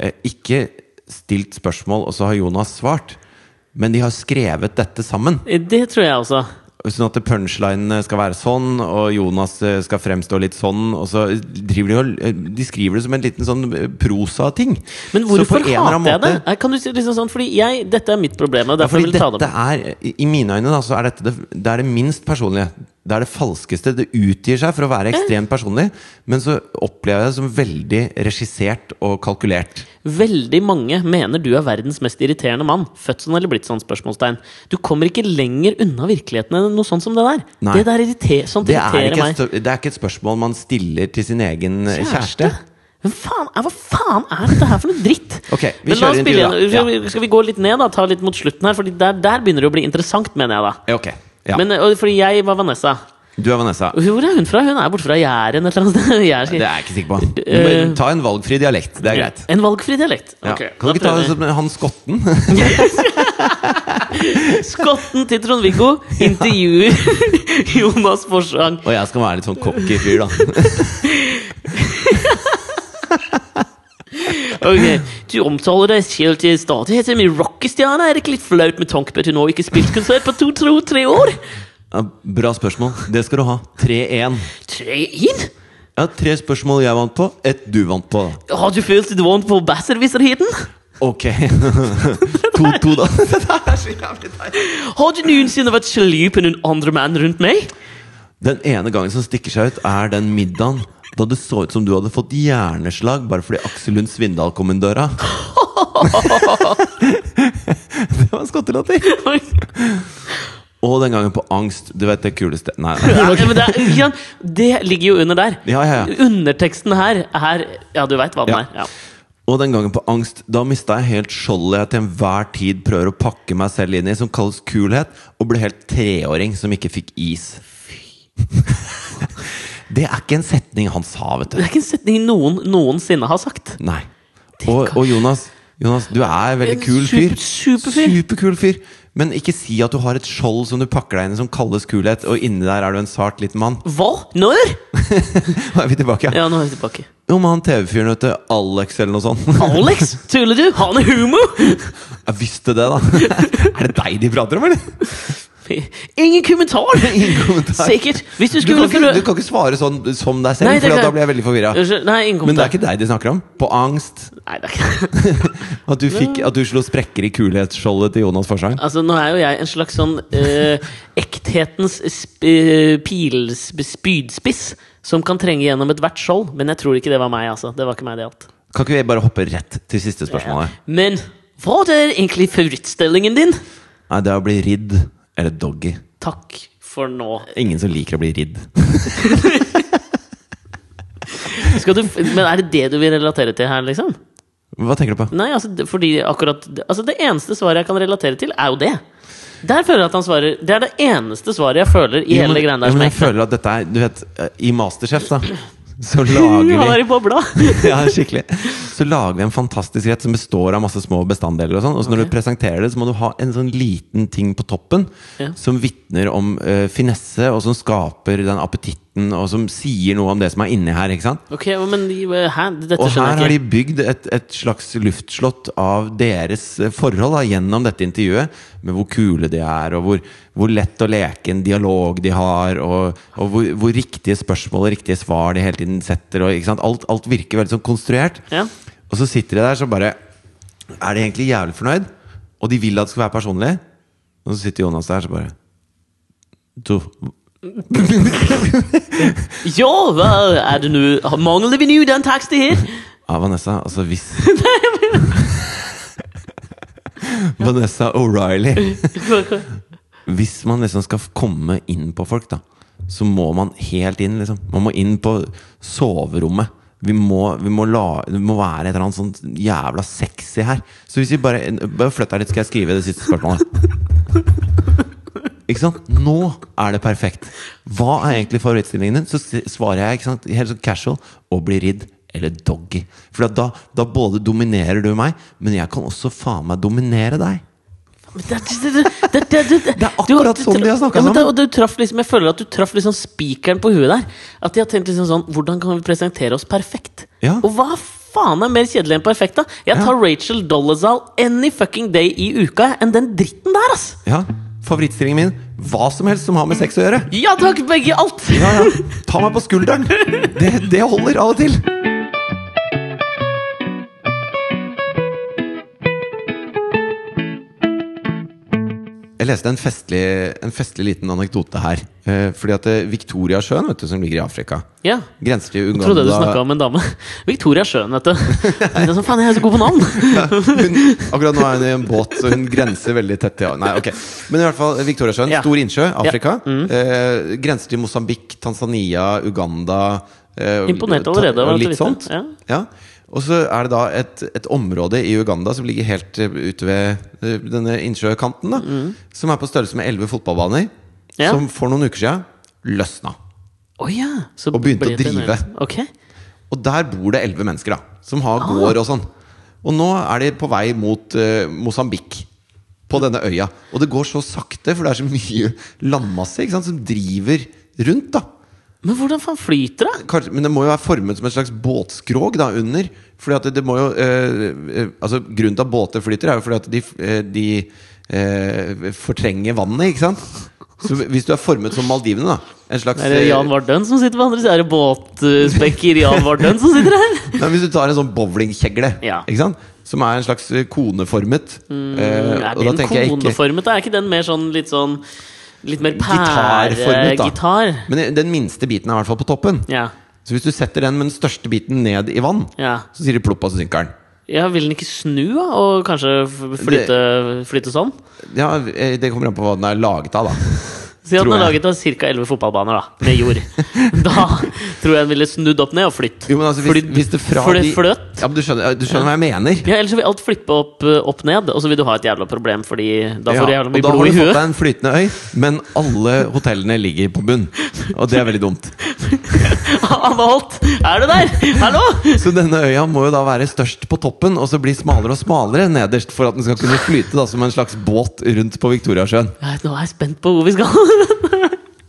Speaker 2: eh, ikke stilt spørsmål, og så har Jonas svart. Men de har skrevet dette sammen.
Speaker 1: eh, Det tror jeg også.
Speaker 2: Sånn at punchlinene skal være sånn, og Jonas eh, skal fremstå litt sånn. Og så driver de, og, eh, de skriver det som en liten sånn eh, prosating.
Speaker 1: Men
Speaker 2: Så på
Speaker 1: hvorfor
Speaker 2: en eller annen
Speaker 1: hater jeg det?
Speaker 2: måte-
Speaker 1: Nei, Kan du si liksom sånn, fordi jeg, Dette er mitt problem. Og
Speaker 2: Ja,
Speaker 1: derfor vil
Speaker 2: fordi
Speaker 1: jeg ta det
Speaker 2: dette
Speaker 1: opp.
Speaker 2: er, i- I mine øyne da, så er dette det, det, er det minst personlige. Det er det falskeste. Det utgir seg for å være ekstremt personlig, men så opplever jeg det som veldig regissert og kalkulert.
Speaker 1: Veldig mange mener du er verdens mest irriterende mann. Født sånn eller blitt sånn? spørsmålstegn Du kommer ikke lenger unna virkeligheten enn noe sånt som det der.
Speaker 2: Nei.
Speaker 1: Det der irriter, sånt
Speaker 2: Det er,
Speaker 1: irriterer
Speaker 2: ikke et,
Speaker 1: meg.
Speaker 2: stø- det er ikke et spørsmål man stiller til sin egen eh, kjæreste.
Speaker 1: Men faen, eh, Hva faen er dette her for noe dritt?
Speaker 2: (laughs) Ok, vi
Speaker 1: Men la
Speaker 2: kjører
Speaker 1: oss
Speaker 2: intervju,
Speaker 1: spille
Speaker 2: da.
Speaker 1: igjen. Skal vi- Skal vi gå litt ned, da? Ta litt mot slutten her, Fordi der, der begynner det å bli interessant, mener jeg da.
Speaker 2: Ja, ok. Ja.
Speaker 1: Men, eh, og, fordi jeg var Vanessa.
Speaker 2: du er Vanessa.
Speaker 1: Hvor er hun fra? Hun er borte fra Jæren et eller annet sted. (laughs) Jeg
Speaker 2: Det er jeg ikke sikker på. Du må ta en valgfri dialekt. Det er greit.
Speaker 1: En valgfri dialekt.
Speaker 2: Ja.
Speaker 1: Ok,
Speaker 2: kan du
Speaker 1: da
Speaker 2: ikke ta sånn
Speaker 1: prøver
Speaker 2: det
Speaker 1: vi.
Speaker 2: som han skotten? (laughs)
Speaker 1: Skotten til Trond-Viggo
Speaker 2: (laughs)
Speaker 1: intervjuer Jonas Forsvang.
Speaker 2: Og jeg skal være litt sånn cocky fyr, da.
Speaker 1: Ok, Du omtaler deg selv til stadighet som en rockestjerne. Er det ikke litt flaut med tanke på at du nå ikke har spilt konsert på to-tre år?
Speaker 2: Ja, bra spørsmål. Det skal du ha. 3-1.
Speaker 1: Tre inn?
Speaker 2: Ja, tre spørsmål jeg vant på, ett du vant på. da.
Speaker 1: Har du følt du vant på Besserwisser-heaten?
Speaker 2: Ok. (laughs) 2-2, da.
Speaker 1: Har du noensinne vært sjalu på noen andre menn rundt meg?
Speaker 2: Den ene gangen som stikker seg ut, er den middagen da det så ut som du hadde fått hjerneslag bare fordi Aksel Lund Svindal kom inn (laughs) døra. det var en skottelatter.
Speaker 1: Nei,
Speaker 2: Og den gangen på Angst. Du vet det kuleste Nei. nei.
Speaker 1: men
Speaker 2: (laughs)
Speaker 1: det, er- Jan, det ligger jo under der.
Speaker 2: Ja, ja, ja.
Speaker 1: Underteksten her er Ja, du veit hva den
Speaker 2: Ja.
Speaker 1: er. Ja.
Speaker 2: Og den gangen på angst, da mista jeg helt skjoldet jeg til enhver tid prøver å pakke meg selv inn i, som kalles kulhet, og ble helt treåring som ikke fikk is. (laughs) Det er ikke en setning han sa, vet
Speaker 1: Det
Speaker 2: du.
Speaker 1: er ikke en setning noen noensinne har sagt.
Speaker 2: Nei. Og, og Jonas, Jonas, du er en veldig
Speaker 1: En
Speaker 2: kul fyr.
Speaker 1: super- superfyr.
Speaker 2: Superkul fyr. Men ikke si at du har et skjold som du pakker deg inn i, som kalles kulhet, og inni der er du en sart liten mann. (laughs)
Speaker 1: Hva? Når?
Speaker 2: Nå er vi tilbake.
Speaker 1: Ja, nå er vi tilbake.
Speaker 2: Om han TV-fyren, vet du. Alex eller noe sånt. (laughs)
Speaker 1: Alex, tuller du? Har han humor?
Speaker 2: Jeg visste det, da. (laughs) Er det deg de prater om, eller?
Speaker 1: Ingen kommentar!
Speaker 2: (laughs) Ingen kommentar.
Speaker 1: Sikkert. Hvis du
Speaker 2: Du
Speaker 1: skulle
Speaker 2: kan, ikke, du
Speaker 1: prøve
Speaker 2: kan ikke svare sånn som deg selv,
Speaker 1: Nei, det
Speaker 2: for
Speaker 1: kan-
Speaker 2: da blir jeg veldig forvirra.
Speaker 1: Unnskyld, Nei, ingen
Speaker 2: Men det
Speaker 1: kommentar.
Speaker 2: er ikke deg de snakker om? På angst?
Speaker 1: Nei, det er ikke (laughs)
Speaker 2: At du, fikk, at du slo sprekker i kulhetsskjoldet til Jonas Forsang?
Speaker 1: Altså, nå er jo jeg en slags sånn eh, ekthetens sp eh, pils spydspiss som kan trenge gjennom ethvert skjold, men jeg tror ikke det var meg, altså. Det var ikke meg, det gjaldt.
Speaker 2: Kan ikke vi bare hoppe rett til siste spørsmålet?
Speaker 1: Men hva er egentlig favorittstillingen din?
Speaker 2: Nei, det er å bli ridd. Eller doggy.
Speaker 1: Takk for nå.
Speaker 2: Ingen som liker å bli ridd.
Speaker 1: Skal du, f- men er det det du vil relatere til her, liksom?
Speaker 2: Hva tenker du på?
Speaker 1: Nei, altså, det- fordi akkurat altså, Det eneste svaret jeg kan relatere til, er jo det. Der føler jeg at han svarer Det er det eneste svaret jeg føler i
Speaker 2: Jo,
Speaker 1: hele
Speaker 2: men-
Speaker 1: greia
Speaker 2: jo,
Speaker 1: der. som
Speaker 2: men
Speaker 1: er
Speaker 2: jeg
Speaker 1: ekte.
Speaker 2: føler at dette er Du vet, eh, i Masterchef, da. så
Speaker 1: (laughs) Han
Speaker 2: lager vi
Speaker 1: er i bobla!
Speaker 2: (laughs) ja, skikkelig. Så lager vi en fantastisk rett som består av masse små bestanddeler. Og sånn Og så når
Speaker 1: Ok.
Speaker 2: du presenterer det, så må du ha en sånn liten ting på toppen
Speaker 1: Ja.
Speaker 2: som vitner om eh, finesse, og som skaper den appetitten, og som sier noe om det som er inni her. ikke sant?
Speaker 1: Ok, men de- hæ? Dette
Speaker 2: Og her
Speaker 1: skjønner
Speaker 2: har de
Speaker 1: jeg ikke.
Speaker 2: bygd et, et slags luftslott av deres eh, forhold da, gjennom dette intervjuet. Med hvor kule de er, og hvor, hvor lett å leke en dialog de har. Og, og hvor, hvor riktige spørsmål og riktige svar de hele tiden setter. Og, ikke sant? Alt, alt virker veldig sånn konstruert.
Speaker 1: Ja.
Speaker 2: Og så sitter de der så bare Er de egentlig jævlig fornøyd? Og de vil at det skal være personlig. Og så sitter Jonas der så bare Du,
Speaker 1: Ja, hva er det nå? Mangler vi nå den teksten her?
Speaker 2: Ja, Vanessa, altså hvis (laughs) Vanessa O'Reilly. (laughs) Hvis man liksom skal komme inn på folk, da, så må man helt inn, liksom. Man må inn på soverommet. Vi må, vi må, la, det må være et eller annet sånn jævla sexy her. Så hvis vi bare, bare flytt deg litt, skal jeg skrive det siste spørsmålet. Ikke sant? Nå er det perfekt. Hva er egentlig favorittstillingen din? Så s- svarer jeg ikke sant? helt sånn casual og blir ridd eller doggy. For at da, da både dominerer du meg, men jeg kan også faen meg dominere deg.
Speaker 1: Men Det det- det- det- det- det-
Speaker 2: Det er akkurat
Speaker 1: du-
Speaker 2: sånn de har snakket
Speaker 1: ja, men det-
Speaker 2: sammen.
Speaker 1: og Du traff liksom, jeg føler at du traff liksom spikeren på huet der. At de har tenkt liksom sånn Hvordan kan vi presentere oss perfekt?
Speaker 2: Ja.
Speaker 1: Og hva faen er mer kjedelig enn perfekt, da? Jeg tar Rachel Dolezal any fucking day i uka enn den dritten der, ass!
Speaker 2: Ja, Favorittstillingen min hva som helst som har med sex å gjøre.
Speaker 1: Ja takk, begge alt!
Speaker 2: Ja, ja. Ta meg på skulderen! Det, det holder av og til. Jeg leste en festlig, en festlig liten anekdote her. Eh, fordi at eh, Victoriasjøen, vet du, som ligger i Afrika
Speaker 1: Ja.
Speaker 2: Grenser til
Speaker 1: Jeg
Speaker 2: Uganda
Speaker 1: trodde du snakka om en dame. (laughs) Victoria Sjøen, vet du. (laughs) Det er sånn, faen, jeg er så god på navn!
Speaker 2: hun, akkurat nå er hun i en båt, så hun grenser veldig tett til Nei, ok Men i hvert fall Victoriasjøen.
Speaker 1: Ja. Mm.
Speaker 2: Stor innsjø, Afrika. Eh, grenser til Mosambik, Tanzania, Uganda eh,
Speaker 1: Imponert
Speaker 2: ta-
Speaker 1: allerede over
Speaker 2: Og
Speaker 1: dette
Speaker 2: litt
Speaker 1: vitnet,
Speaker 2: sånt.
Speaker 1: ja.
Speaker 2: Ja. Og så er det da et, et område i Uganda som ligger helt eh, ute ved eh, denne innsjøkanten, da. Som er på størrelse med elleve fotballbaner.
Speaker 1: Mm. Ja.
Speaker 2: Som for noen uker siden løsna.
Speaker 1: Å ja. Så
Speaker 2: Og begynte
Speaker 1: ble
Speaker 2: å
Speaker 1: det en-
Speaker 2: drive.
Speaker 1: Ok.
Speaker 2: Og der bor det elleve mennesker, da. Som har gård og sånn. Og nå er de på vei mot eh, Mosambik. På denne øya. Og det går så sakte, for det er så mye landmasse ikke sant, som driver rundt. da
Speaker 1: Men hvordan faen flyter det?
Speaker 2: Kanskje, Men det må jo være formet som et slags båtskrog da under. Fordi at det, det må jo eh, eh, Altså Grunnen til at båter flyter, er jo fordi at de, eh, de eh, fortrenger vannet, ikke sant? Så hvis du er formet som Maldivene, da. En slags
Speaker 1: Er det Jan Vardøen som sitter på andre siden? Er det båtspekker Jan Vardøen som sitter
Speaker 2: (laughs)
Speaker 1: her?
Speaker 2: Nei, men hvis du tar en sånn bowlingkjegle,
Speaker 1: Ja.
Speaker 2: ikke sant? som er en slags eh, koneformet eh,
Speaker 1: Mm, Er
Speaker 2: og da
Speaker 1: den
Speaker 2: tenker jeg ikke-
Speaker 1: koneformet? da? Er ikke den mer sånn litt sånn Litt mer
Speaker 2: Gitarformet, da.
Speaker 1: pæregitar?
Speaker 2: Men den minste biten er i hvert fall på toppen.
Speaker 1: Ja.
Speaker 2: Så hvis du setter den med den største biten ned i vann,
Speaker 1: ja.
Speaker 2: så sier det plopp, og så synker den.
Speaker 1: Ja, Vil den ikke snu, da? Og kanskje f- flytte, flytte sånn?
Speaker 2: Ja, eh, Det kommer an på hva den er laget av, da.
Speaker 1: Si at den
Speaker 2: Tror
Speaker 1: er
Speaker 2: jeg.
Speaker 1: laget av ca. 11 fotballbaner da, med jord.
Speaker 2: (laughs)
Speaker 1: Da tror jeg den ville snudd opp ned og flytt.
Speaker 2: Jo, men altså, hvis,
Speaker 1: Fordi-
Speaker 2: hvis det fra
Speaker 1: fordi
Speaker 2: de-
Speaker 1: fløt?
Speaker 2: Ja, men du skjønner, ja, du skjønner hva jeg mener?
Speaker 1: Ja, Ellers så vil alt flippe opp, eh, opp ned, og så vil du ha et jævla problem, fordi da får du
Speaker 2: Ja,
Speaker 1: jævla
Speaker 2: og
Speaker 1: mye
Speaker 2: da har
Speaker 1: blod i
Speaker 2: du fått deg
Speaker 1: huet.
Speaker 2: en flytende øy, men alle hotellene ligger på bunn. Og det er veldig dumt.
Speaker 1: (laughs) Anne Holt, er du der? Hallo!
Speaker 2: Så denne øya må jo da være størst på toppen, og så bli smalere og smalere nederst for at den skal kunne flyte da som en slags båt rundt på Viktoriasjøen.
Speaker 1: Nei, Nå er jeg spent på hvor vi skal. (laughs)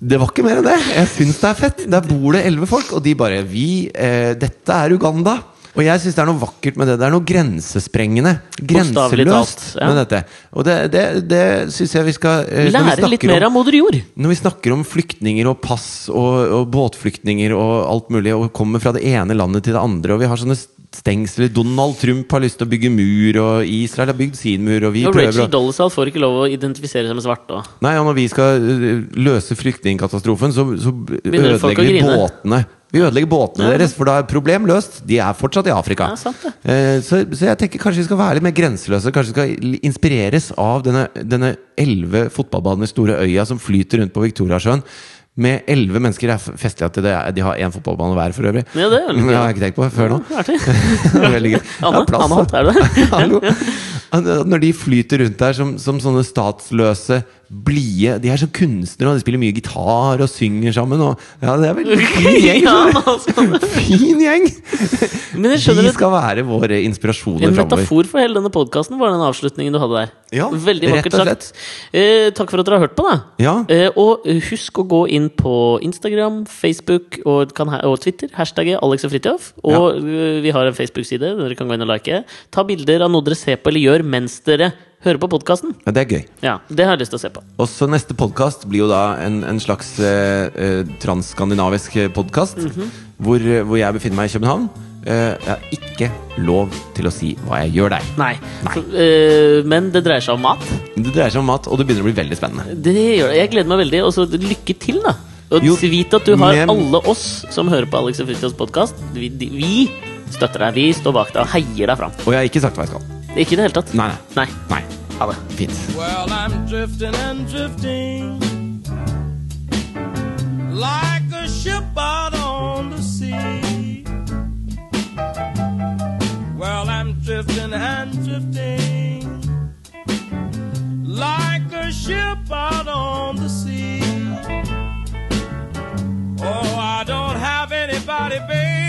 Speaker 2: Det var ikke mer enn det. Jeg syns det er fett. Der bor det elleve folk, og de bare Vi, eh, dette er Uganda. Og jeg syns det er noe vakkert med det. Det er noe grensesprengende.
Speaker 1: Bokstavelig
Speaker 2: Grenseløst
Speaker 1: talt, ja.
Speaker 2: med dette. Og det, det, det syns jeg vi skal eh, når vi
Speaker 1: Lære litt
Speaker 2: snakker om-
Speaker 1: mer av moder jord.
Speaker 2: Når vi snakker om flyktninger og pass og, og båtflyktninger og alt mulig, og kommer fra det ene landet til det andre, og vi har sånne stengsler Donald Trump har lyst til å bygge mur, og Israel har bygd sin mur, og vi
Speaker 1: Og
Speaker 2: prøver
Speaker 1: Rachel
Speaker 2: å
Speaker 1: Dolezal får ikke lov å identifisere seg med svart. Da.
Speaker 2: Nei, og når vi skal øh, løse flyktningkatastrofen, så, så
Speaker 1: Begynner folk
Speaker 2: ødelegger
Speaker 1: å
Speaker 2: vi
Speaker 1: grine.
Speaker 2: båtene. Vi ødelegger båtene
Speaker 1: Ja.
Speaker 2: deres, for da er problem løst. De er fortsatt i Afrika.
Speaker 1: Ja, sant det.
Speaker 2: Eh, så, så jeg tenker kanskje vi skal være litt mer grenseløse. Kanskje vi skal inspireres av denne- denne elleve fotballbaner store øya som flyter rundt på Victoriasjøen. Med elleve mennesker. Det er f- festlig at det er, de har én fotballbane hver, for øvrig.
Speaker 1: Ja,
Speaker 2: (laughs)
Speaker 1: det er veldig gøy.
Speaker 2: det har jeg ikke tenkt på før nå.
Speaker 1: Artig.
Speaker 2: (laughs) Veldig gøy.
Speaker 1: Anne,
Speaker 2: Ja, plass,
Speaker 1: Anne Holt,
Speaker 2: da.
Speaker 1: er
Speaker 2: (laughs)
Speaker 1: du der?
Speaker 2: Hallo. Når de flyter rundt der som, som sånne statsløse blide De er sånn kunstnere, og de spiller mye gitar og synger sammen. Og, ja, det er veldig fin gjeng!
Speaker 1: (laughs) ja, men
Speaker 2: (laughs) skjønner
Speaker 1: altså,
Speaker 2: du. Fin gjeng!
Speaker 1: men jeg skjønner
Speaker 2: De
Speaker 1: et
Speaker 2: skal være våre inspirasjoner
Speaker 1: En
Speaker 2: framover.
Speaker 1: metafor for hele denne podkasten var den avslutningen du hadde der.
Speaker 2: Ja,
Speaker 1: Veldig
Speaker 2: rett
Speaker 1: vakkert
Speaker 2: og
Speaker 1: sagt. Eh, takk for at dere har hørt på, da.
Speaker 2: Ja.
Speaker 1: Eh, og eh, husk å gå inn på Instagram, Facebook og, kan, ha- og Twitter. Hashtagget Alex og Fridtjof. Og eh, vi har en Facebook-side. Dere kan gå inn og like. Ta bilder av noe dere ser på eller gjør mens dere hører på podkasten.
Speaker 2: Ja, det er gøy.
Speaker 1: Ja, det har jeg lyst til å se på.
Speaker 2: Og så neste podkast blir jo da en, en slags eh, eh, transskandinavisk podkast.
Speaker 1: Mhm.
Speaker 2: hvor, eh, hvor jeg befinner meg i København. Eh, jeg har ikke lov til å si hva jeg gjør der.
Speaker 1: Nei. Så, eh, men det dreier seg om mat.
Speaker 2: Det dreier seg om mat, og det begynner å bli veldig spennende.
Speaker 1: Det gjør det. Jeg gleder meg veldig. Og så lykke til, da. Og
Speaker 2: Jo,
Speaker 1: vit at du har
Speaker 2: men-
Speaker 1: alle oss som hører på Alex og Fritjofs podkast. Vi, de- vi støtter deg. Vi står bak deg og heier deg fram.
Speaker 2: Og jeg har ikke sagt hva jeg skal.
Speaker 1: Ikke i det hele tatt.
Speaker 2: Nei, nei.
Speaker 1: Nei.
Speaker 2: Nei.
Speaker 1: Ha det.
Speaker 2: Fint.
Speaker 4: Well, I'm drifting and drifting like a ship out on the sea. Well, I'm drifting and drifting like a ship out on the sea. Oh, I don't have anybody, baby.